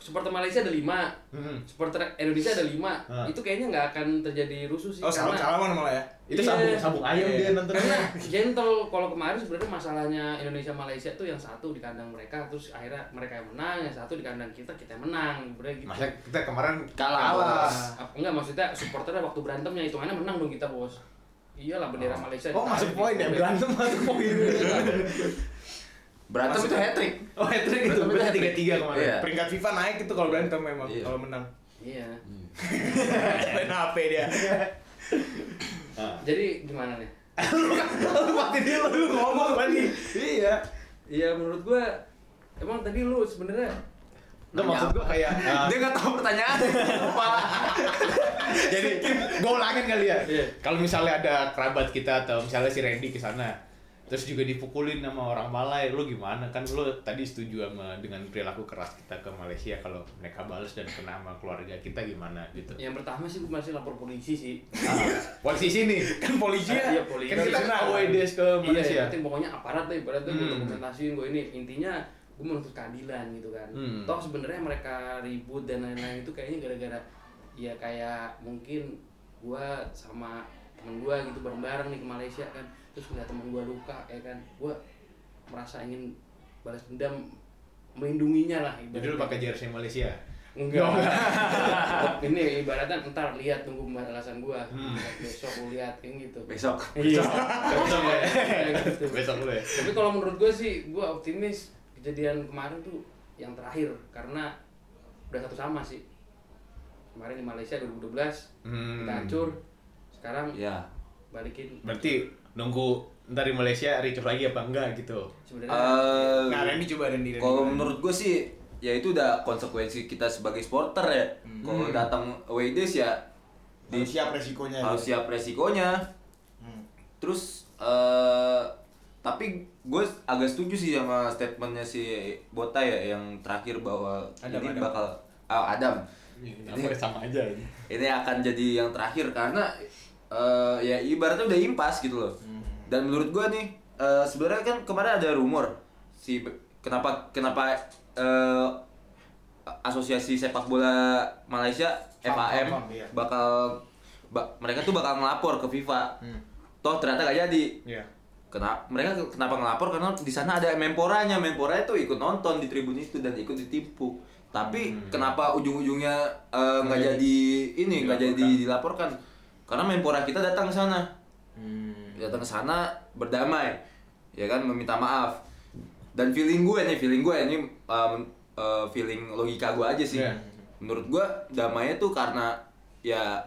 [SPEAKER 4] supporter Malaysia ada lima
[SPEAKER 1] Hmm.
[SPEAKER 4] supporter Indonesia ada lima
[SPEAKER 1] Ah.
[SPEAKER 4] itu kayaknya nggak akan terjadi rusuh sih
[SPEAKER 2] oh salam salaman malah ya
[SPEAKER 1] Itu sabung
[SPEAKER 4] Iya.
[SPEAKER 1] sabung ayam
[SPEAKER 2] Iya.
[SPEAKER 1] dia nonton
[SPEAKER 4] karena gentle kalau kemarin sebenarnya masalahnya Indonesia Malaysia tuh yang satu di kandang mereka terus akhirnya mereka yang menang yang satu di kandang kita kita yang menang berarti gitu
[SPEAKER 1] Masa kita kemarin
[SPEAKER 3] Kalah.
[SPEAKER 4] Apa- enggak maksudnya supporternya waktu berantemnya hitungannya menang dong kita bos iyalah bendera Malaysia
[SPEAKER 1] Oh masuk poin
[SPEAKER 4] ditarik.
[SPEAKER 1] ya berantem masuk poin.
[SPEAKER 3] Berantem itu hat trick.
[SPEAKER 1] Oh hat trick itu
[SPEAKER 3] Berantem
[SPEAKER 1] berarti
[SPEAKER 3] hat-trick.
[SPEAKER 1] tiga tiga kemarin.
[SPEAKER 3] Iya.
[SPEAKER 2] peringkat FIFA naik itu kalau berantem memang
[SPEAKER 3] Iya.
[SPEAKER 2] kalau menang
[SPEAKER 4] iya
[SPEAKER 2] main HP dia
[SPEAKER 1] Ah.
[SPEAKER 4] jadi gimana nih
[SPEAKER 1] Lu mati dia lu ngomong tadi. Iya.
[SPEAKER 4] iya menurut gua emang tadi lu sebenarnya
[SPEAKER 1] Enggak Ah. maksud gua kayak
[SPEAKER 3] Dia nggak tahu pertanyaan. Lupa.
[SPEAKER 1] jadi gue ulangin kali ya
[SPEAKER 4] Iya.
[SPEAKER 1] kalau misalnya ada kerabat kita atau misalnya si Randy ke sana terus juga dipukulin sama orang Malai lu gimana kan lu tadi setuju sama dengan perilaku keras kita ke Malaysia kalau mereka balas dan kena sama keluarga kita gimana gitu
[SPEAKER 4] Yang pertama sih gue masih lapor polisi sih.
[SPEAKER 1] Ah, polisi sini
[SPEAKER 2] kan polisi
[SPEAKER 4] Eh,
[SPEAKER 2] ya
[SPEAKER 4] iya, polisi.
[SPEAKER 1] kan kita
[SPEAKER 2] Nasional.
[SPEAKER 1] OEDs ke
[SPEAKER 4] Iya,
[SPEAKER 1] Malaysia
[SPEAKER 4] yang penting pokoknya aparat deh, aparat tuh
[SPEAKER 1] Hmm.
[SPEAKER 4] gue dokumentasiin gue ini. Intinya gue menuntut keadilan gitu kan.
[SPEAKER 1] Hmm.
[SPEAKER 4] Toh sebenarnya mereka ribut dan lain-lain itu kayaknya gara-gara ya kayak mungkin gue sama temen gue gitu bareng-bareng nih ke Malaysia kan. Terus ngeliat temen gue luka ya kan. Gue merasa ingin balas dendam melindunginya lah.
[SPEAKER 1] jadi lu
[SPEAKER 4] ibaratnya.
[SPEAKER 1] pakai jersey Malaysia
[SPEAKER 4] Enggak. ini ibaratnya ntar lihat tunggu pembalasan gua.
[SPEAKER 1] Hmm.
[SPEAKER 4] Besok lu lihat kayak gitu.
[SPEAKER 3] besok
[SPEAKER 4] Iya.
[SPEAKER 1] besok lu ya
[SPEAKER 4] Kayak gitu.
[SPEAKER 1] besok lu ya
[SPEAKER 4] Tapi kalau menurut gue sih, gue optimis kejadian kemarin tuh yang terakhir karena udah satu sama sih. Kemarin di Malaysia 2012
[SPEAKER 1] Hmm. Iya.
[SPEAKER 4] kita hancur, sekarang
[SPEAKER 3] ya
[SPEAKER 4] balikin
[SPEAKER 1] berarti nunggu ntar di Malaysia ricuh lagi apa enggak gitu
[SPEAKER 4] sebenarnya.
[SPEAKER 3] Eh,
[SPEAKER 2] nah Randy coba Randy Randy.
[SPEAKER 3] kalau menurut gue sih ya itu udah konsekuensi kita sebagai supporter ya kalau datang away days ya
[SPEAKER 2] Hmm. Harus siap resikonya
[SPEAKER 3] harus
[SPEAKER 2] gitu.
[SPEAKER 3] siap resikonya
[SPEAKER 2] Hmm.
[SPEAKER 3] terus eh tapi gue agak setuju sih sama statementnya si Bota ya yang terakhir bahwa
[SPEAKER 2] Adam,
[SPEAKER 3] ini
[SPEAKER 2] Adam.
[SPEAKER 3] bakal ah, Adam
[SPEAKER 1] Kenapa ya sama aja ini?
[SPEAKER 3] ini akan jadi yang terakhir karena eh, ya ibaratnya udah impas gitu loh
[SPEAKER 2] Hmm.
[SPEAKER 3] dan menurut gue nih eh, sebenarnya kan kemarin ada rumor si kenapa kenapa eh, asosiasi sepak bola Malaysia FAM
[SPEAKER 2] Faham, iya.
[SPEAKER 3] bakal ba- mereka tuh bakal ngelapor ke FIFA
[SPEAKER 2] Hmm.
[SPEAKER 3] toh ternyata gak jadi
[SPEAKER 2] Iya.
[SPEAKER 3] Kenapa mereka kenapa ngelapor karena di sana ada memporanya, memporanya tuh ikut nonton di tribun itu dan ikut ditipu. Tapi kenapa ujung-ujungnya eh, nggak jadi ini nggak jadi dilaporkan? Karena mempora kita datang ke sana, datang ke sana berdamai, ya kan meminta maaf. Dan feeling gue nih, feeling gue ini um, eh, feeling logika gue aja sih.
[SPEAKER 1] Iya.
[SPEAKER 3] Menurut gue damainya tuh karena ya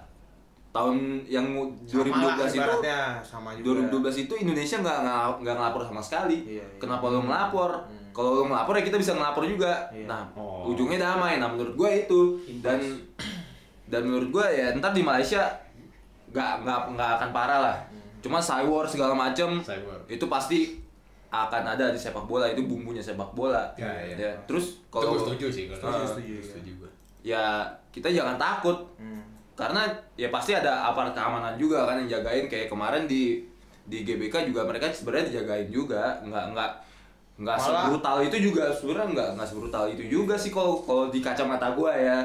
[SPEAKER 3] tahun yang mu- 2012
[SPEAKER 2] Sama lah,
[SPEAKER 3] itu
[SPEAKER 2] ibaratnya sama juga.
[SPEAKER 3] 2012 itu Indonesia nggak nggak- nggak ngelapor sama sekali.
[SPEAKER 2] Iya, iya.
[SPEAKER 3] Kenapa
[SPEAKER 1] Hmm.
[SPEAKER 3] lo ngelapor? Kalau lo ngelapor ya kita bisa ngelapor juga.
[SPEAKER 2] Iya.
[SPEAKER 3] Nah,
[SPEAKER 1] Oh.
[SPEAKER 3] ujungnya damai. Nah, menurut gue itu dan dan menurut gue ya ntar di Malaysia nggak nggak nggak akan parah lah.
[SPEAKER 2] Hmm.
[SPEAKER 3] Cuma cywar segala macem
[SPEAKER 1] Cyber.
[SPEAKER 3] itu pasti akan ada di sepak bola itu bumbunya sepak bola.
[SPEAKER 1] Ya, iya.
[SPEAKER 3] Ya, Terus
[SPEAKER 1] Kalau
[SPEAKER 3] kalau
[SPEAKER 1] setuju sih kalau gitu.
[SPEAKER 3] Setuju,
[SPEAKER 2] setuju, iya.
[SPEAKER 1] setuju gua.
[SPEAKER 3] ya kita jangan takut
[SPEAKER 2] Hmm.
[SPEAKER 3] karena ya pasti ada aparat keamanan juga kan yang jagain kayak kemarin di di GBK juga mereka sebenarnya dijagain juga nggak nggak nggak
[SPEAKER 2] Malah-
[SPEAKER 3] sebrutal itu juga sebenarnya nggak nggak sebrutal itu juga sih kalau kalau di kacamata gua ya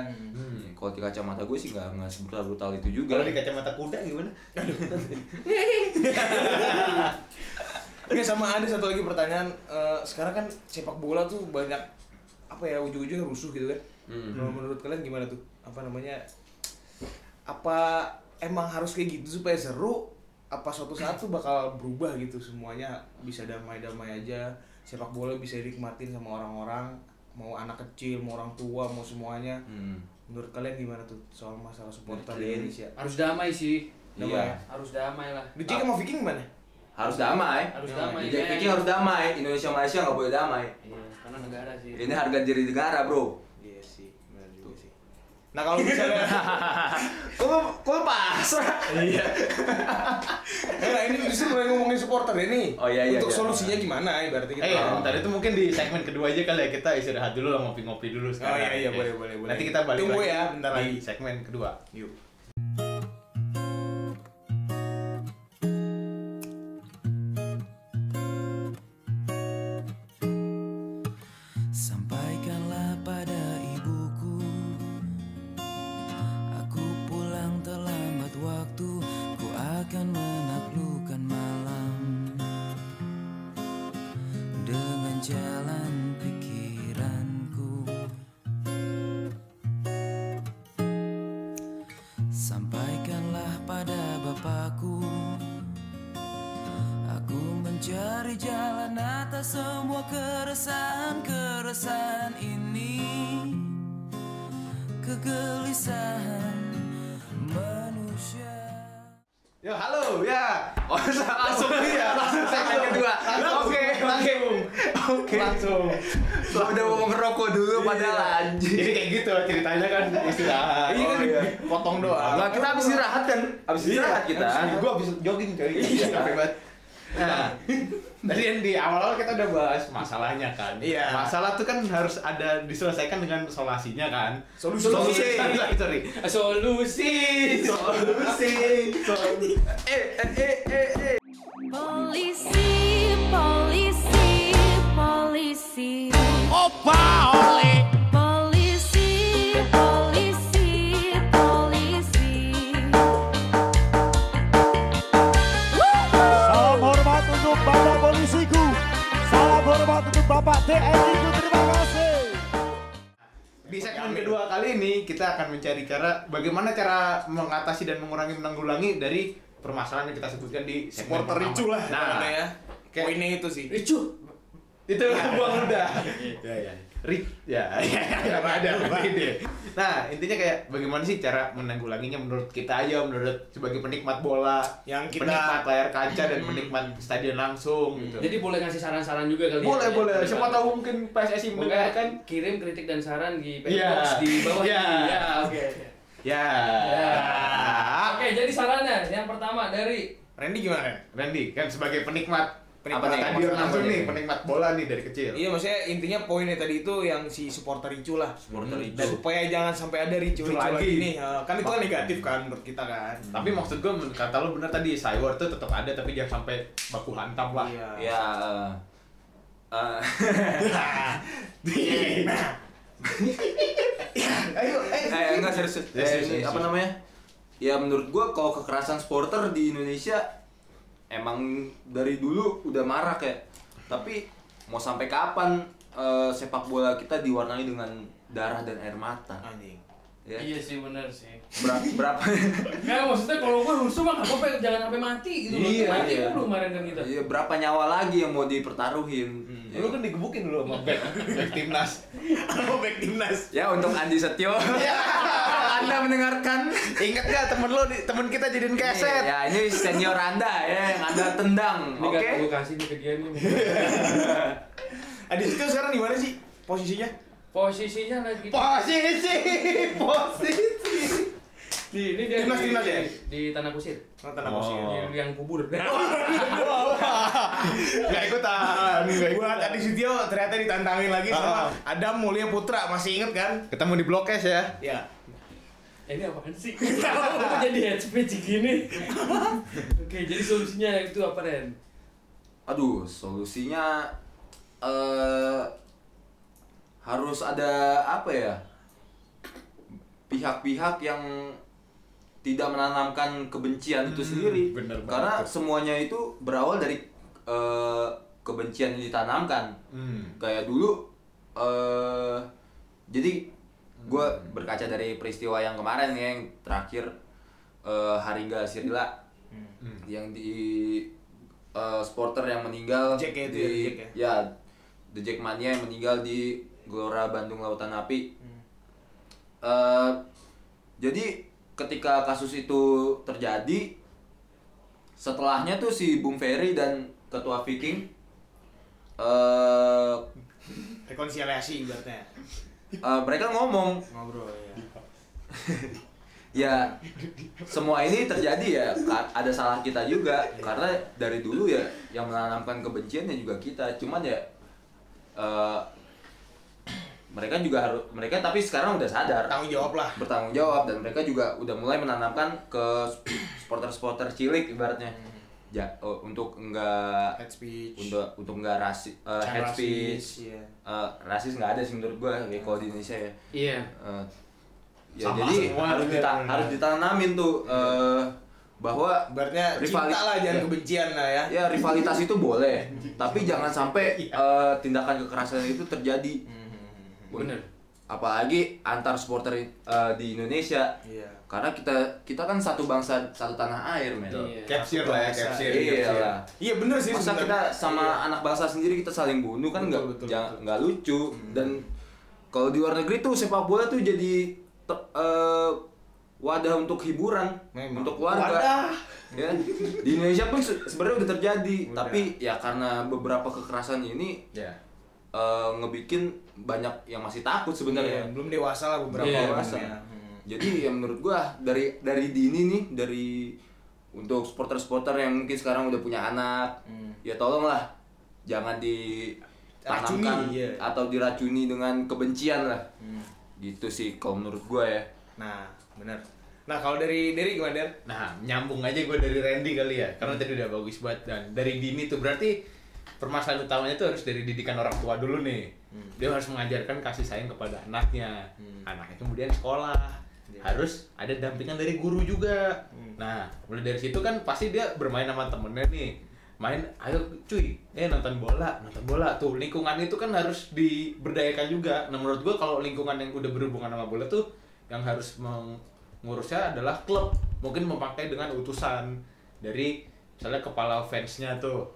[SPEAKER 3] kalau di kacamata gue sih nggak nggak sebrutal brutal itu juga
[SPEAKER 1] Kalau di kacamata kuda gimana?
[SPEAKER 2] Oke sama ada satu lagi pertanyaan Eh, sekarang kan sepak bola tuh banyak apa ya ujung-ujungnya rusuh gitu kan.
[SPEAKER 3] Hmm.
[SPEAKER 2] Kalau menurut kalian gimana tuh? Apa namanya? Apa emang harus kayak gitu supaya seru? Apa suatu saat tuh bakal berubah gitu semuanya bisa damai-damai aja. Sepak bola bisa dinikmatin sama orang-orang, mau anak kecil, mau orang tua, mau semuanya.
[SPEAKER 3] Hmm.
[SPEAKER 2] Menurut kalian gimana tuh soal masalah supporter
[SPEAKER 3] Menurut
[SPEAKER 2] di
[SPEAKER 3] kalian?
[SPEAKER 2] Indonesia?
[SPEAKER 4] Harus damai sih.
[SPEAKER 2] Damai.
[SPEAKER 3] iya
[SPEAKER 4] Harus damai lah.
[SPEAKER 2] Di Jika mau Viking mana?
[SPEAKER 3] harus damai
[SPEAKER 4] Harus
[SPEAKER 2] Damai.
[SPEAKER 4] damai.
[SPEAKER 3] Jack
[SPEAKER 4] men.
[SPEAKER 3] Vicky harus damai Indonesia Malaysia nggak boleh damai
[SPEAKER 4] Iya, karena negara sih.
[SPEAKER 1] Iya.
[SPEAKER 3] ini harga diri negara bro
[SPEAKER 2] Iya sih, benar juga sih. Nah kalau misalnya
[SPEAKER 3] kok kok pasrah
[SPEAKER 2] Eh, nah ini justru mulai ngomongin supporter ini.
[SPEAKER 3] Oh, iya, iya,
[SPEAKER 2] Untuk
[SPEAKER 3] iya.
[SPEAKER 2] solusinya gimana ibaratnya gitu. kita.
[SPEAKER 1] Eh, bentar itu mungkin di segmen kedua aja kali ya kita istirahat dulu lah ngopi-ngopi dulu sekarang.
[SPEAKER 2] iya, iya,
[SPEAKER 1] Oke.
[SPEAKER 2] boleh, boleh, boleh.
[SPEAKER 1] Nanti kita balik
[SPEAKER 2] Tunggu
[SPEAKER 1] lagi
[SPEAKER 2] ya, bentar
[SPEAKER 1] di
[SPEAKER 2] lagi.
[SPEAKER 1] segmen kedua.
[SPEAKER 2] Yuk.
[SPEAKER 7] Sampaikanlah pada ibuku Aku pulang terlambat waktu Ku akan menaklukkan malam Dengan jalan pikiranku Sampaikanlah pada bapakku Aku mencari jalan atas semua keresahan-keresahan ini Kegelisahan manusia
[SPEAKER 1] Yo, halo, ya.
[SPEAKER 3] oh langsung
[SPEAKER 1] Iya,
[SPEAKER 3] langsung segmen kedua oke
[SPEAKER 1] langsung. Oke. Langsung.
[SPEAKER 3] udah mau ngerokok dulu padahal anjing
[SPEAKER 1] Jadi kayak gitu ceritanya kan Iya. istirahat.
[SPEAKER 3] Iya, kan,
[SPEAKER 1] potong doang.
[SPEAKER 4] Iya,
[SPEAKER 3] Nah, kita habis istirahat kan? Habis istirahat kita.
[SPEAKER 1] Gua habis jogging coy. Iya, capek banget. Nah, tadi yang di awal-awal kita udah bahas masalahnya kan.
[SPEAKER 2] Iya.
[SPEAKER 1] Masalah tuh kan harus ada diselesaikan dengan solasinya kan.
[SPEAKER 2] Solusi.
[SPEAKER 1] Sorry, sorry.
[SPEAKER 4] Solusi.
[SPEAKER 1] Solusi. Solusi.
[SPEAKER 8] Polisi, polisi, polisi. Polisi, polisi, polisi.
[SPEAKER 6] Salam hormat untuk Bapak Polisiku. Salam hormat untuk Bapak TNI ku. Terima kasih.
[SPEAKER 1] Di segmen kedua kali ini kita akan mencari cara bagaimana cara mengatasi dan mengurangi menanggulangi dari permasalahan yang kita sebutkan di segmen
[SPEAKER 2] Supporter
[SPEAKER 1] pertama.
[SPEAKER 2] ricu lah.
[SPEAKER 1] Nah,
[SPEAKER 2] ibaratnya ya.
[SPEAKER 1] kayak-
[SPEAKER 2] Poinnya itu sih. Iya.
[SPEAKER 4] Ricu.
[SPEAKER 1] itu buang udah ya ya Rik ya ya ada ini nah intinya kayak bagaimana sih cara menanggulanginya menurut kita aja menurut sebagai penikmat bola
[SPEAKER 2] Yang kita-
[SPEAKER 1] penikmat layar kaca dan penikmat stadion langsung gitu
[SPEAKER 4] Jadi boleh ngasih saran-saran juga kali ya?
[SPEAKER 1] boleh boleh
[SPEAKER 4] Boleh
[SPEAKER 1] siapa
[SPEAKER 4] banget.
[SPEAKER 1] tahu mungkin PSSI
[SPEAKER 4] Pokoknya
[SPEAKER 1] mendengarkan
[SPEAKER 4] kirim kritik dan saran di PN
[SPEAKER 1] Iya.
[SPEAKER 4] Box di bawah
[SPEAKER 1] Iya.
[SPEAKER 4] ini. Ya, oke.
[SPEAKER 1] ya
[SPEAKER 4] Ya. Oke, jadi sarannya yang pertama dari
[SPEAKER 2] Randy gimana? Ren?
[SPEAKER 1] Randy kan sebagai penikmat penikmat
[SPEAKER 2] Penikmat
[SPEAKER 1] stadion
[SPEAKER 2] apa
[SPEAKER 1] langsung
[SPEAKER 2] nih?
[SPEAKER 1] nih penikmat bola nih dari kecil
[SPEAKER 2] Iya maksudnya intinya poinnya tadi itu yang si supporter ricu lah.
[SPEAKER 3] Supporter ricu.
[SPEAKER 2] Dan supaya jangan sampai ada ricu
[SPEAKER 1] Ricu
[SPEAKER 2] ricu lagi,
[SPEAKER 1] lagi.
[SPEAKER 2] nih. Eh, Kan itu kan negatif kan menurut kita kan.
[SPEAKER 1] tapi maksud gue kata lo bener tadi cyber tuh tetap ada tapi jangan sampai baku hantam lah
[SPEAKER 2] Iya.
[SPEAKER 3] Ya. eh,
[SPEAKER 1] ayo
[SPEAKER 3] eh, eh, enggak serius. serius.
[SPEAKER 1] Ya,
[SPEAKER 3] Eh,
[SPEAKER 1] serius,
[SPEAKER 3] ini
[SPEAKER 1] serius.
[SPEAKER 3] apa namanya? Ya menurut gua kalau kekerasan supporter di Indonesia emang dari dulu udah marak ya. Tapi mau sampai kapan eh, sepak bola kita diwarnai dengan darah dan air mata?
[SPEAKER 2] Anjing.
[SPEAKER 3] Ya.
[SPEAKER 4] Iya sih benar sih.
[SPEAKER 3] Ber- berapa?
[SPEAKER 4] Nggak, maksudnya kalau gue rusuh mah nggak apa-apa, jangan sampai mati gitu. loh.
[SPEAKER 1] Iya,
[SPEAKER 4] mati
[SPEAKER 3] iya.
[SPEAKER 4] dulu kemarin kan kita. Hmm.
[SPEAKER 3] Iya, berapa nyawa lagi yang mau dipertaruhin? Ya.
[SPEAKER 1] Lu kan digebukin lu sama back, back timnas.
[SPEAKER 2] Lo back timnas.
[SPEAKER 3] Ya untuk Andi Setio.
[SPEAKER 4] Iya.
[SPEAKER 3] Anda mendengarkan.
[SPEAKER 1] Ingat gak temen lu, di- temen kita jadiin keset?
[SPEAKER 3] Ya ini senior Anda ya yang Anda tendang.
[SPEAKER 4] Ini
[SPEAKER 3] Oke.
[SPEAKER 4] nggak gue kasih nih ke dia nih.
[SPEAKER 2] Adit itu sekarang di mana sih posisinya?
[SPEAKER 4] Posisinya lagi
[SPEAKER 1] Posisi, posisi.
[SPEAKER 4] di ini dia
[SPEAKER 2] Timnas,
[SPEAKER 4] di,
[SPEAKER 2] timnas ya?
[SPEAKER 4] di tanah kusir.
[SPEAKER 2] Nah, tanah
[SPEAKER 1] Oh.
[SPEAKER 2] posisinya.
[SPEAKER 4] Di liang kubur. Nah,
[SPEAKER 1] Gak ikutan, gak
[SPEAKER 2] Buat
[SPEAKER 1] ikutan.
[SPEAKER 2] Adi Sutio ternyata ditantangin lagi
[SPEAKER 1] Ah.
[SPEAKER 2] sama Adam Mulia Putra masih inget kan?
[SPEAKER 1] Ketemu di Blok S ya.
[SPEAKER 2] Ya.
[SPEAKER 4] ini apaan sih? Kenapa jadi head speech gini? Oke, jadi solusinya itu apa Ren?
[SPEAKER 3] Aduh, solusinya eh harus ada apa ya? Pihak-pihak yang tidak menanamkan kebencian
[SPEAKER 4] Hmm,
[SPEAKER 3] itu sendiri.
[SPEAKER 1] bener banget
[SPEAKER 3] Karena
[SPEAKER 1] tuh.
[SPEAKER 3] semuanya itu berawal dari eh, kebencian yang ditanamkan.
[SPEAKER 1] Hmm.
[SPEAKER 3] kayak dulu eh jadi gue berkaca dari peristiwa yang kemarin ya, yang terakhir eh Haringga Sirila
[SPEAKER 2] Hmm.
[SPEAKER 3] yang di eh, sporter yang meninggal
[SPEAKER 2] Jack ya, itu
[SPEAKER 3] di
[SPEAKER 2] ya, Jack ya?
[SPEAKER 3] ya The Jackmania yang meninggal di Gelora Bandung Lautan Api
[SPEAKER 2] Hmm.
[SPEAKER 3] eh jadi ketika kasus itu terjadi setelahnya tuh si Bung Ferry dan ketua Viking eh
[SPEAKER 2] Rekonsiliasi ibaratnya.
[SPEAKER 3] Eh, mereka ngomong
[SPEAKER 2] Ngobrol ya.
[SPEAKER 3] ya semua ini terjadi ya ka- ada salah kita juga karena dari dulu ya yang menanamkan kebenciannya juga kita cuman ya eh, mereka juga harus mereka tapi sekarang udah sadar
[SPEAKER 2] Tanggung jawab lah.
[SPEAKER 3] bertanggung jawab dan mereka juga udah mulai menanamkan ke supporter-supporter cilik ibaratnya ja, eh, untuk enggak
[SPEAKER 2] Hmm. Head speech.
[SPEAKER 3] untuk untuk enggak rasi, eh,
[SPEAKER 2] Jangan
[SPEAKER 3] head
[SPEAKER 2] rasis,
[SPEAKER 3] speech
[SPEAKER 2] iya.
[SPEAKER 3] Eh, rasis nggak ada sih menurut gua ya, kalau di Indonesia ya
[SPEAKER 4] Iya.
[SPEAKER 3] Eh, ya
[SPEAKER 1] Sama
[SPEAKER 3] jadi
[SPEAKER 1] semua
[SPEAKER 3] harus
[SPEAKER 2] gitu
[SPEAKER 1] juga.
[SPEAKER 3] dita- harus ditanamin tuh eh, bahwa
[SPEAKER 2] Ibaratnya
[SPEAKER 3] Rivali-
[SPEAKER 2] cinta lah
[SPEAKER 1] Iya.
[SPEAKER 2] jangan
[SPEAKER 3] ya.
[SPEAKER 2] kebencian lah ya.
[SPEAKER 3] ya rivalitas itu boleh tapi jangan
[SPEAKER 2] Iya.
[SPEAKER 3] sampai eh, tindakan kekerasan itu terjadi
[SPEAKER 2] Hmm.
[SPEAKER 4] Bener.
[SPEAKER 3] apalagi antar supporter eh, di Indonesia
[SPEAKER 2] Iya.
[SPEAKER 3] karena kita kita kan satu bangsa satu tanah air men
[SPEAKER 4] Iya.
[SPEAKER 1] Capture lah ya,
[SPEAKER 2] Bisa.
[SPEAKER 1] capture.
[SPEAKER 3] Iya
[SPEAKER 1] capture.
[SPEAKER 3] lah.
[SPEAKER 2] Iya bener sih
[SPEAKER 3] masa kita
[SPEAKER 2] sebenarnya. Iya.
[SPEAKER 3] sama anak bangsa sendiri kita saling bunuh
[SPEAKER 2] Betul,
[SPEAKER 3] kan nggak
[SPEAKER 2] betul,
[SPEAKER 3] jangan-
[SPEAKER 2] betul. Hmm.
[SPEAKER 3] nggak lucu dan kalau di luar negeri tuh sepak bola tuh jadi te- eh, wadah untuk hiburan
[SPEAKER 2] Memang.
[SPEAKER 3] untuk keluarga
[SPEAKER 2] Wadah.
[SPEAKER 3] ya di Indonesia pun se- sebenarnya udah terjadi
[SPEAKER 2] Udah.
[SPEAKER 3] tapi ya karena beberapa kekerasan ini
[SPEAKER 1] Ya.
[SPEAKER 3] eh, ngebikin banyak yang masih takut
[SPEAKER 2] Iya,
[SPEAKER 3] sebenarnya
[SPEAKER 2] belum dewasa lah beberapa
[SPEAKER 4] Iya,
[SPEAKER 2] orang
[SPEAKER 3] dewasa.
[SPEAKER 2] ya. Hmm.
[SPEAKER 3] jadi ya menurut gua dari dari dini nih dari untuk supporter-supporter yang mungkin sekarang udah punya anak
[SPEAKER 2] Hmm.
[SPEAKER 3] ya tolonglah jangan ditanamkan
[SPEAKER 2] Racuni, iya. Hmm.
[SPEAKER 3] atau diracuni dengan kebencian lah gitu sih kalau menurut gua ya
[SPEAKER 2] Nah, benar. Nah, kalau dari dari gimana, Hmm. Der?
[SPEAKER 1] Nah, nyambung aja gue dari Randy kali ya, karena tadi udah bagus banget dan dari dini tuh berarti permasalahan utamanya tuh harus dari didikan orang tua dulu nih.
[SPEAKER 2] Hmm.
[SPEAKER 1] Dia harus mengajarkan kasih sayang kepada anaknya. Anaknya kemudian sekolah,
[SPEAKER 2] Iya.
[SPEAKER 1] harus ada dampingan dari guru juga.
[SPEAKER 2] Hmm.
[SPEAKER 1] Nah, mulai dari situ kan pasti dia bermain sama temennya nih main ayo cuy eh nonton bola nonton bola tuh lingkungan itu kan harus diberdayakan juga nah menurut gua kalau lingkungan yang udah berhubungan sama bola tuh yang harus mengurusnya adalah klub mungkin memakai dengan utusan dari misalnya kepala fansnya tuh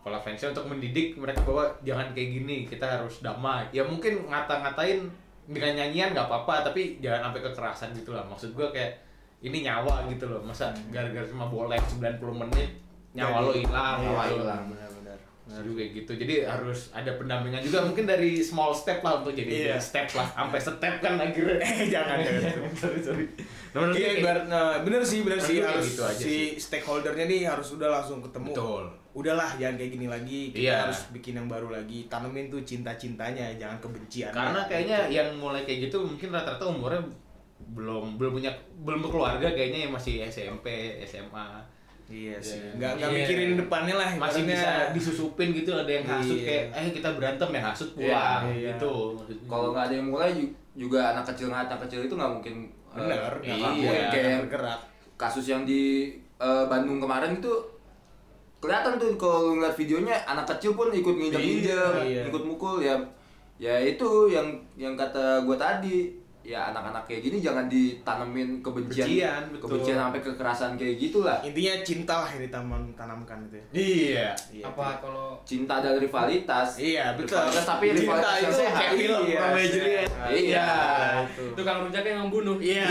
[SPEAKER 1] kepala fansnya untuk mendidik mereka bahwa jangan kayak gini kita harus damai ya mungkin ngata-ngatain dengan nyanyian nggak apa-apa tapi jangan sampai kekerasan gitu lah maksud gua kayak ini nyawa gitu loh masa gara-gara cuma boleh 90 menit nyawa lo hilang
[SPEAKER 2] Iya,
[SPEAKER 1] nyawa lo
[SPEAKER 2] iya, benar-benar.
[SPEAKER 1] juga gitu jadi harus ada pendampingan juga mungkin dari small step lah untuk jadi
[SPEAKER 2] Iya.
[SPEAKER 1] step lah sampai step kan akhirnya
[SPEAKER 2] jangan, jangan.
[SPEAKER 1] sorry sorry Nah, menurut
[SPEAKER 2] Iya,
[SPEAKER 1] gue kayak-
[SPEAKER 2] ibarat- nah, bener sih, bener
[SPEAKER 1] Menurut
[SPEAKER 2] sih
[SPEAKER 1] gue kayak
[SPEAKER 2] harus
[SPEAKER 1] gitu aja
[SPEAKER 2] si stakeholdernya nih harus udah langsung ketemu.
[SPEAKER 1] Betul.
[SPEAKER 2] Udahlah, jangan kayak gini lagi. Kita
[SPEAKER 1] Iya.
[SPEAKER 2] harus bikin yang baru lagi. Tanemin tuh cinta-cintanya, jangan kebencian. Iya
[SPEAKER 1] karena kayaknya yang mulai kayak gitu mungkin rata-rata umurnya belum belum punya belum berkeluarga kayaknya yang masih SMP SMA
[SPEAKER 2] Iya sih.
[SPEAKER 1] Iya.
[SPEAKER 2] Nggak nggak
[SPEAKER 4] Iya.
[SPEAKER 2] mikirin depannya lah.
[SPEAKER 1] masih
[SPEAKER 2] ibaratnya.
[SPEAKER 1] bisa disusupin gitu ada yang hasut
[SPEAKER 2] Eh, Iya.
[SPEAKER 1] kayak eh kita berantem ya hasut pulang
[SPEAKER 2] Iya, iya.
[SPEAKER 1] gitu maksud gue.
[SPEAKER 3] kalau nggak ada yang mulai ju- juga anak kecil anak kecil itu nggak mungkin eh,
[SPEAKER 2] bener, nggak
[SPEAKER 1] Iya.
[SPEAKER 2] ngelakuin, nggak
[SPEAKER 3] Kayak-
[SPEAKER 2] bergerak.
[SPEAKER 3] kasus yang di eh, Bandung kemarin itu kelihatan tuh kalau lu ngeliat videonya anak kecil pun ikut nginjak nginjak
[SPEAKER 2] Iya.
[SPEAKER 3] ikut mukul ya ya itu yang yang kata gua tadi ya anak-anak kayak gini jangan ditanemin kebencian
[SPEAKER 1] Kebencian, betul.
[SPEAKER 3] kebencian sampai kekerasan kayak gitulah
[SPEAKER 2] Intinya cinta lah yang ditanam tanamkan itu ya.
[SPEAKER 1] iya
[SPEAKER 2] Iya.
[SPEAKER 4] apa kalau
[SPEAKER 3] cinta dan rivalitas
[SPEAKER 2] Iya, betul.
[SPEAKER 3] Rivalitas, tapi
[SPEAKER 2] Cinta
[SPEAKER 3] rivalitas yang
[SPEAKER 2] itu
[SPEAKER 3] sehat
[SPEAKER 1] kayak film
[SPEAKER 2] Iya.
[SPEAKER 1] Romeo and Juliet
[SPEAKER 3] iya
[SPEAKER 4] itu kalau rujak yang membunuh
[SPEAKER 1] iya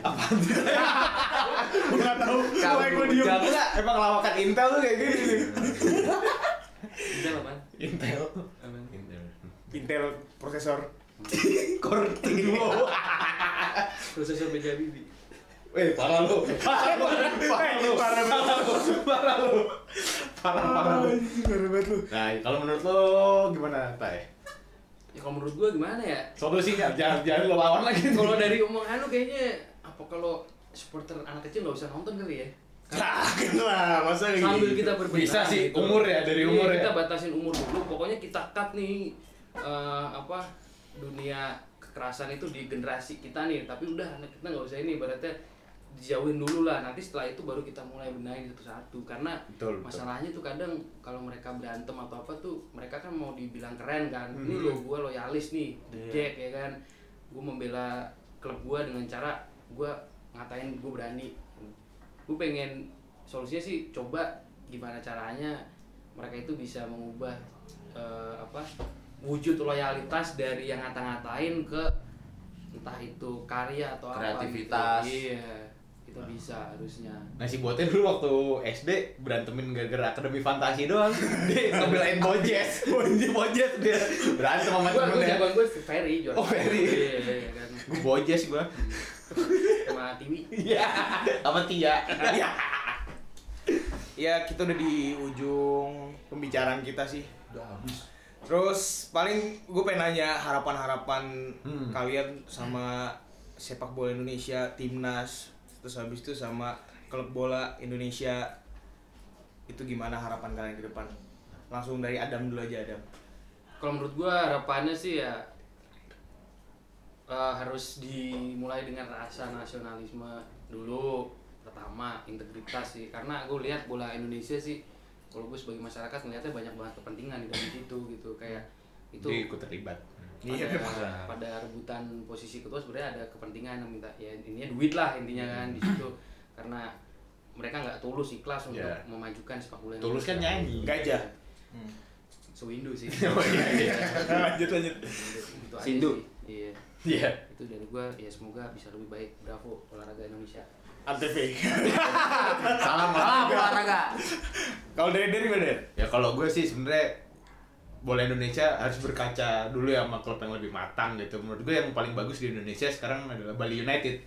[SPEAKER 1] apa tuh nggak tahu
[SPEAKER 3] Kamu
[SPEAKER 1] Wah, gua diem.
[SPEAKER 3] jago
[SPEAKER 1] emang lawakan Intel tuh kayak gini nih.
[SPEAKER 4] Rujak apaan?
[SPEAKER 1] Intel
[SPEAKER 4] Apaan?
[SPEAKER 2] Intel prosesor.
[SPEAKER 1] korting wow
[SPEAKER 4] prosesor meja bibi
[SPEAKER 1] Eh, parah lu. Parah lu. Parah lu. Parah lu. Parah lu. Parah parah lu. Nah, kalau menurut lo gimana, Tay?
[SPEAKER 4] ya kalau menurut gua gimana ya
[SPEAKER 1] Solusinya jangan jangan lo lawan lagi
[SPEAKER 4] kalau dari omongan lu kayaknya apa kalau supporter anak kecil nggak usah nonton kali ya
[SPEAKER 1] lah, masa gitu?
[SPEAKER 4] sambil kita berbenah
[SPEAKER 1] Iya. Bisa sih
[SPEAKER 4] gitu.
[SPEAKER 1] umur ya dari
[SPEAKER 4] Iya,
[SPEAKER 1] umur
[SPEAKER 4] kita
[SPEAKER 1] ya.
[SPEAKER 4] batasin umur dulu pokoknya kita cut nih eh, apa dunia kekerasan itu di generasi kita nih tapi udah anak kita nggak usah ini ibaratnya dijauhin dulu lah nanti setelah itu baru kita mulai benahi satu-satu karena
[SPEAKER 1] Betul, betul.
[SPEAKER 4] masalahnya tuh kadang kalau mereka berantem atau apa tuh mereka kan mau dibilang keren kan
[SPEAKER 1] Hmm.
[SPEAKER 4] ini lo gue loyalis nih The
[SPEAKER 1] Iya.
[SPEAKER 4] Jack ya kan gue membela klub gue dengan cara gue ngatain gue berani gue pengen solusinya sih coba gimana caranya mereka itu bisa mengubah eh, apa wujud loyalitas dari yang ngata-ngatain ke entah itu karya atau
[SPEAKER 3] Kreativitas.
[SPEAKER 4] apa gitu. iya itu bisa harusnya
[SPEAKER 1] Nah si Bote dulu waktu SD berantemin gara-gara akademi fantasi doang Dia ngebelain Bojes Bojes Bojes dia Berantem sama
[SPEAKER 4] gue gue
[SPEAKER 1] temennya
[SPEAKER 4] jagoan gue Ferry
[SPEAKER 1] ya?
[SPEAKER 4] juara
[SPEAKER 1] Oh, Ferry.
[SPEAKER 4] iya iya kan
[SPEAKER 1] Gue Bojes gua
[SPEAKER 4] sama Tiwi
[SPEAKER 1] Iya Sama Tia
[SPEAKER 4] Iya.
[SPEAKER 2] Ya kita udah di ujung pembicaraan kita sih. Terus paling gue pengen nanya harapan-harapan
[SPEAKER 1] Hmm.
[SPEAKER 2] kalian sama sepak bola Indonesia, timnas, terus habis itu sama klub bola Indonesia itu gimana harapan kalian ke depan? Langsung dari Adam dulu aja Adam.
[SPEAKER 4] kalau menurut gue harapannya sih ya eh, harus dimulai dengan rasa nasionalisme dulu pertama integritas sih karena gue lihat bola Indonesia sih kalau gue sebagai masyarakat melihatnya banyak banget kepentingan di dalam situ gitu kayak itu
[SPEAKER 1] Dia ikut terlibat
[SPEAKER 2] Iya,
[SPEAKER 4] pada, pada rebutan posisi ketua sebenarnya ada kepentingan yang minta ya intinya duit lah intinya kan di situ karena mereka nggak tulus ikhlas untuk
[SPEAKER 1] Iya.
[SPEAKER 4] memajukan sepak bola
[SPEAKER 1] Tulus kan
[SPEAKER 4] Indonesia. Hmm.
[SPEAKER 1] nyanyi
[SPEAKER 2] Gajah.
[SPEAKER 4] Sewindu sih
[SPEAKER 1] Oh, iya,
[SPEAKER 2] Iya. lanjut lanjut.
[SPEAKER 4] Itu aja
[SPEAKER 3] Sindu.
[SPEAKER 4] sih. iya
[SPEAKER 1] Iya
[SPEAKER 4] itu dari gua ya semoga bisa lebih baik bravo olahraga Indonesia
[SPEAKER 2] Antv.
[SPEAKER 3] salam salam olahraga
[SPEAKER 2] Kalau dari dari mana? Der?
[SPEAKER 1] ya kalau gue sih sebenarnya bola Indonesia harus berkaca dulu ya sama klub yang lebih matang gitu menurut gue yang paling bagus di Indonesia sekarang adalah Bali United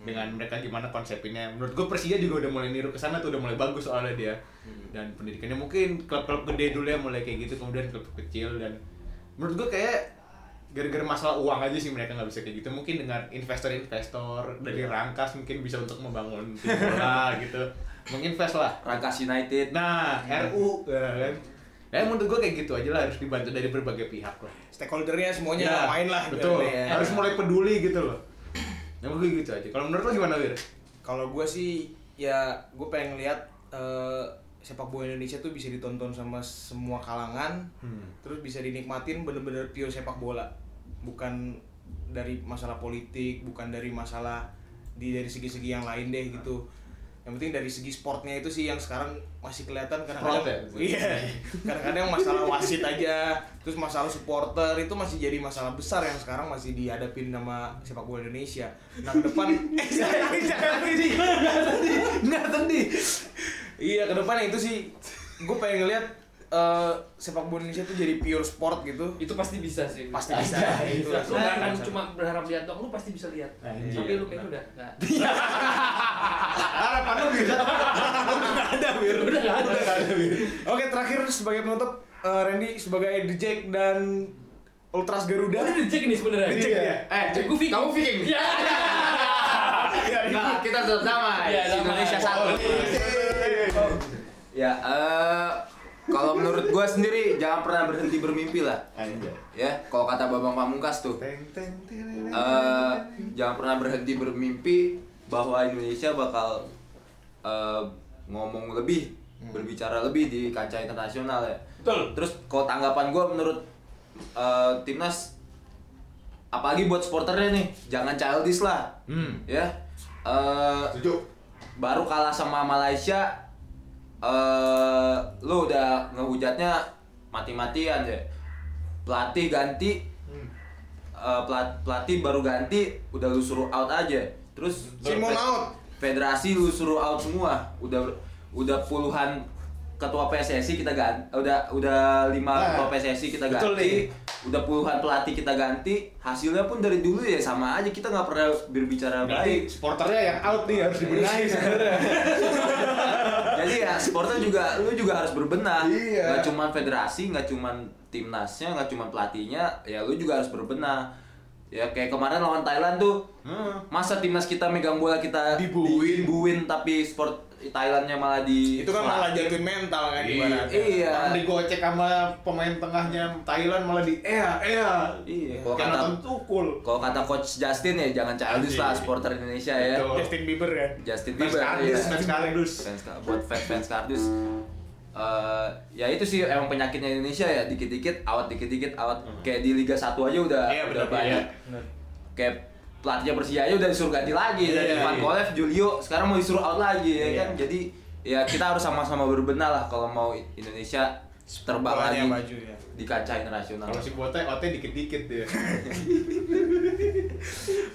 [SPEAKER 1] dengan mereka gimana konsepinnya. Menurut gue Persija juga udah mulai niru ke sana tuh udah mulai bagus soalnya dia.
[SPEAKER 2] Hmm.
[SPEAKER 1] Dan pendidikannya mungkin klub-klub gede dulu ya mulai kayak gitu kemudian klub kecil dan menurut gue kayak gara-gara masalah uang aja sih mereka nggak bisa kayak gitu mungkin dengan investor-investor dari
[SPEAKER 2] Iya.
[SPEAKER 1] rangkas mungkin bisa untuk membangun tim bola gitu menginvest lah
[SPEAKER 3] Rangkas United.
[SPEAKER 1] Nah,
[SPEAKER 2] Iya.
[SPEAKER 1] RU ya kan. Nah, menurut gue kayak gitu aja lah harus dibantu dari berbagai pihak lah.
[SPEAKER 2] Stakeholdernya semuanya main Oh, lah.
[SPEAKER 1] Ya, Betul.
[SPEAKER 2] ibaratnya ya.
[SPEAKER 1] Harus mulai peduli gitu loh. Nah, gue gitu aja. Kalau menurut lo gimana, Wir?
[SPEAKER 2] Kalau gue sih ya gue pengen lihat eh, sepak bola Indonesia tuh bisa ditonton sama semua kalangan, terus bisa dinikmatin bener-bener pure sepak bola, bukan dari masalah politik, bukan dari masalah di dari segi-segi yang lain deh gitu. Yang penting dari segi sportnya itu sih yang sekarang masih kelihatan kadang-kadang
[SPEAKER 1] Sport ya?
[SPEAKER 2] iya kadang-kadang masalah wasit aja terus masalah supporter itu masih jadi masalah besar yang sekarang masih dihadapin sama sepak bola Indonesia nah ke depan
[SPEAKER 1] Nggak tadi.
[SPEAKER 2] Iya ke depan itu sih gue pengen ngeliat eh, sepak bola Indonesia tuh jadi pure sport gitu.
[SPEAKER 4] itu pasti bisa sih Iya,
[SPEAKER 2] Pasti bisa.
[SPEAKER 1] Iya,
[SPEAKER 2] Itu
[SPEAKER 4] Lu
[SPEAKER 2] langsung.
[SPEAKER 4] nggak akan Kan cuma berharap lihat dong, lu pasti bisa lihat.
[SPEAKER 1] Anjir.
[SPEAKER 4] Tapi lu kayaknya udah nggak.
[SPEAKER 1] Iya. Harapan lo gitu. Nggak ada, Wir. Udah nggak ada. Wir.
[SPEAKER 2] Oke terakhir sebagai penutup eh, Randy sebagai The Jack dan Ultras Garuda.
[SPEAKER 4] Udah dicek nih sebenarnya.
[SPEAKER 1] Dicek ya?
[SPEAKER 4] Eh,
[SPEAKER 3] Jack,
[SPEAKER 4] gue Viking.
[SPEAKER 3] kamu Viking?
[SPEAKER 4] Iya.
[SPEAKER 2] Iya,
[SPEAKER 3] Nah, kita tetap damai.
[SPEAKER 4] Iya, damai.
[SPEAKER 3] Indonesia satu. Ya, eh kalau menurut gua sendiri jangan pernah berhenti bermimpi lah.
[SPEAKER 1] Anjay.
[SPEAKER 3] Ya, kalau kata Babang Pamungkas tuh.
[SPEAKER 1] Teng teng teng.
[SPEAKER 3] eh jangan pernah berhenti bermimpi bahwa Indonesia bakal eh, ngomong lebih,
[SPEAKER 1] Hmm.
[SPEAKER 3] berbicara lebih di kancah internasional ya.
[SPEAKER 4] Betul.
[SPEAKER 3] Terus kalau tanggapan gue menurut eh, timnas, apalagi buat supporternya nih, jangan childish lah,
[SPEAKER 1] Hmm.
[SPEAKER 3] ya. Eh,
[SPEAKER 1] Setuju.
[SPEAKER 3] baru kalah sama Malaysia eh lu udah ngehujatnya mati-matian ya pelatih ganti eh, pelat- pelatih baru ganti udah lu suruh out aja terus
[SPEAKER 2] Simon
[SPEAKER 3] fe-
[SPEAKER 2] out.
[SPEAKER 3] federasi lu suruh out semua udah udah puluhan ketua PSSI kita ganti udah udah lima
[SPEAKER 1] Nah,
[SPEAKER 3] ketua PSSI kita
[SPEAKER 1] betul
[SPEAKER 3] ganti udah puluhan pelatih kita ganti hasilnya pun dari dulu ya sama aja kita nggak pernah berbicara
[SPEAKER 1] Berarti
[SPEAKER 3] baik
[SPEAKER 1] supporternya yang out nih harus dibenahi
[SPEAKER 3] Nah, iya.
[SPEAKER 1] sebenarnya.
[SPEAKER 3] Jadi ya supporter juga lu juga harus berbenah.
[SPEAKER 1] Iya.
[SPEAKER 3] Gak cuman federasi, gak cuman timnasnya, gak cuman pelatihnya, ya lu juga harus berbenah. Ya kayak kemarin lawan Thailand tuh.
[SPEAKER 1] Hmm.
[SPEAKER 3] Masa timnas kita megang bola kita
[SPEAKER 1] Dibuin.
[SPEAKER 3] dibuin, tapi sport Thailandnya malah di
[SPEAKER 2] Itu kan malah jatuhin mental kan ibaratnya.
[SPEAKER 3] Iya.
[SPEAKER 1] Orang digocek sama pemain tengahnya Thailand malah di ea ea.
[SPEAKER 3] Iya, kalau
[SPEAKER 1] Kayak
[SPEAKER 3] kata
[SPEAKER 1] nonton tukul.
[SPEAKER 3] kalau kata coach Justin ya jangan
[SPEAKER 2] Iya,
[SPEAKER 3] childish lah supporter Indonesia ya.
[SPEAKER 1] Betul.
[SPEAKER 2] Justin Bieber kan.
[SPEAKER 3] Justin
[SPEAKER 1] Fans
[SPEAKER 3] Bieber.
[SPEAKER 1] kardus,
[SPEAKER 3] iya.
[SPEAKER 1] fans kardus.
[SPEAKER 3] fans Ka- buat fans fans kardus Eh, ya itu sih emang penyakitnya Indonesia ya dikit-dikit out dikit-dikit out kayak di Liga 1 aja udah
[SPEAKER 1] Hmm. Iya,
[SPEAKER 3] udah
[SPEAKER 1] benar,
[SPEAKER 3] banyak
[SPEAKER 1] iya.
[SPEAKER 3] kayak pelatihnya Persija aja udah disuruh ganti lagi
[SPEAKER 1] Iya,
[SPEAKER 3] dari Van
[SPEAKER 1] iya.
[SPEAKER 3] Kolev, Julio sekarang mau disuruh out lagi ya
[SPEAKER 1] Iya.
[SPEAKER 3] kan jadi ya kita harus sama-sama berbenah lah kalau mau Indonesia terbang lagi
[SPEAKER 2] Bolanya maju
[SPEAKER 1] iya.
[SPEAKER 2] ya.
[SPEAKER 3] di kancah internasional
[SPEAKER 1] Kalau si Bote otnya dikit-dikit dia.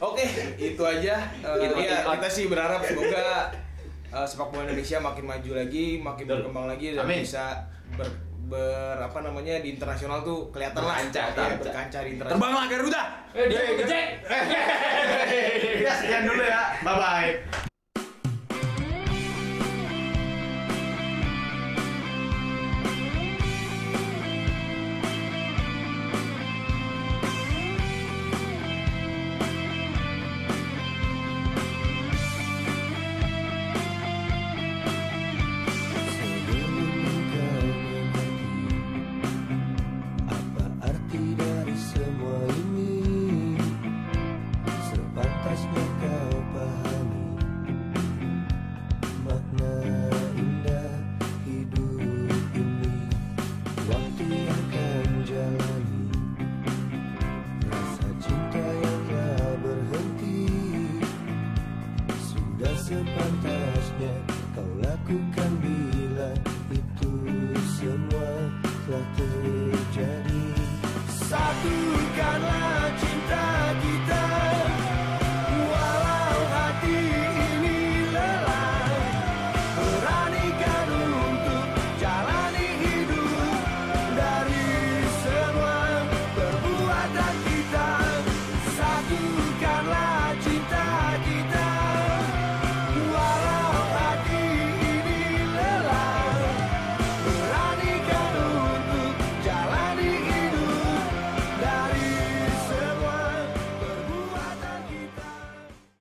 [SPEAKER 2] Oke, itu aja. Eh,
[SPEAKER 3] Itu
[SPEAKER 2] iya,
[SPEAKER 3] aja.
[SPEAKER 2] kita sih berharap semoga eh, sepak bola Indonesia makin maju lagi, makin
[SPEAKER 1] Betul.
[SPEAKER 2] berkembang lagi dan
[SPEAKER 1] Amin.
[SPEAKER 2] bisa ber, ber- apa namanya di internasional tuh kelihatan lah
[SPEAKER 3] Berkancah,
[SPEAKER 2] Iya,
[SPEAKER 3] berkancah.
[SPEAKER 2] berkancah di internasional.
[SPEAKER 1] Iya,
[SPEAKER 3] terbanglah Garuda
[SPEAKER 4] Eh, dia ngecek.
[SPEAKER 1] Ya sekian dulu ya. Bye bye.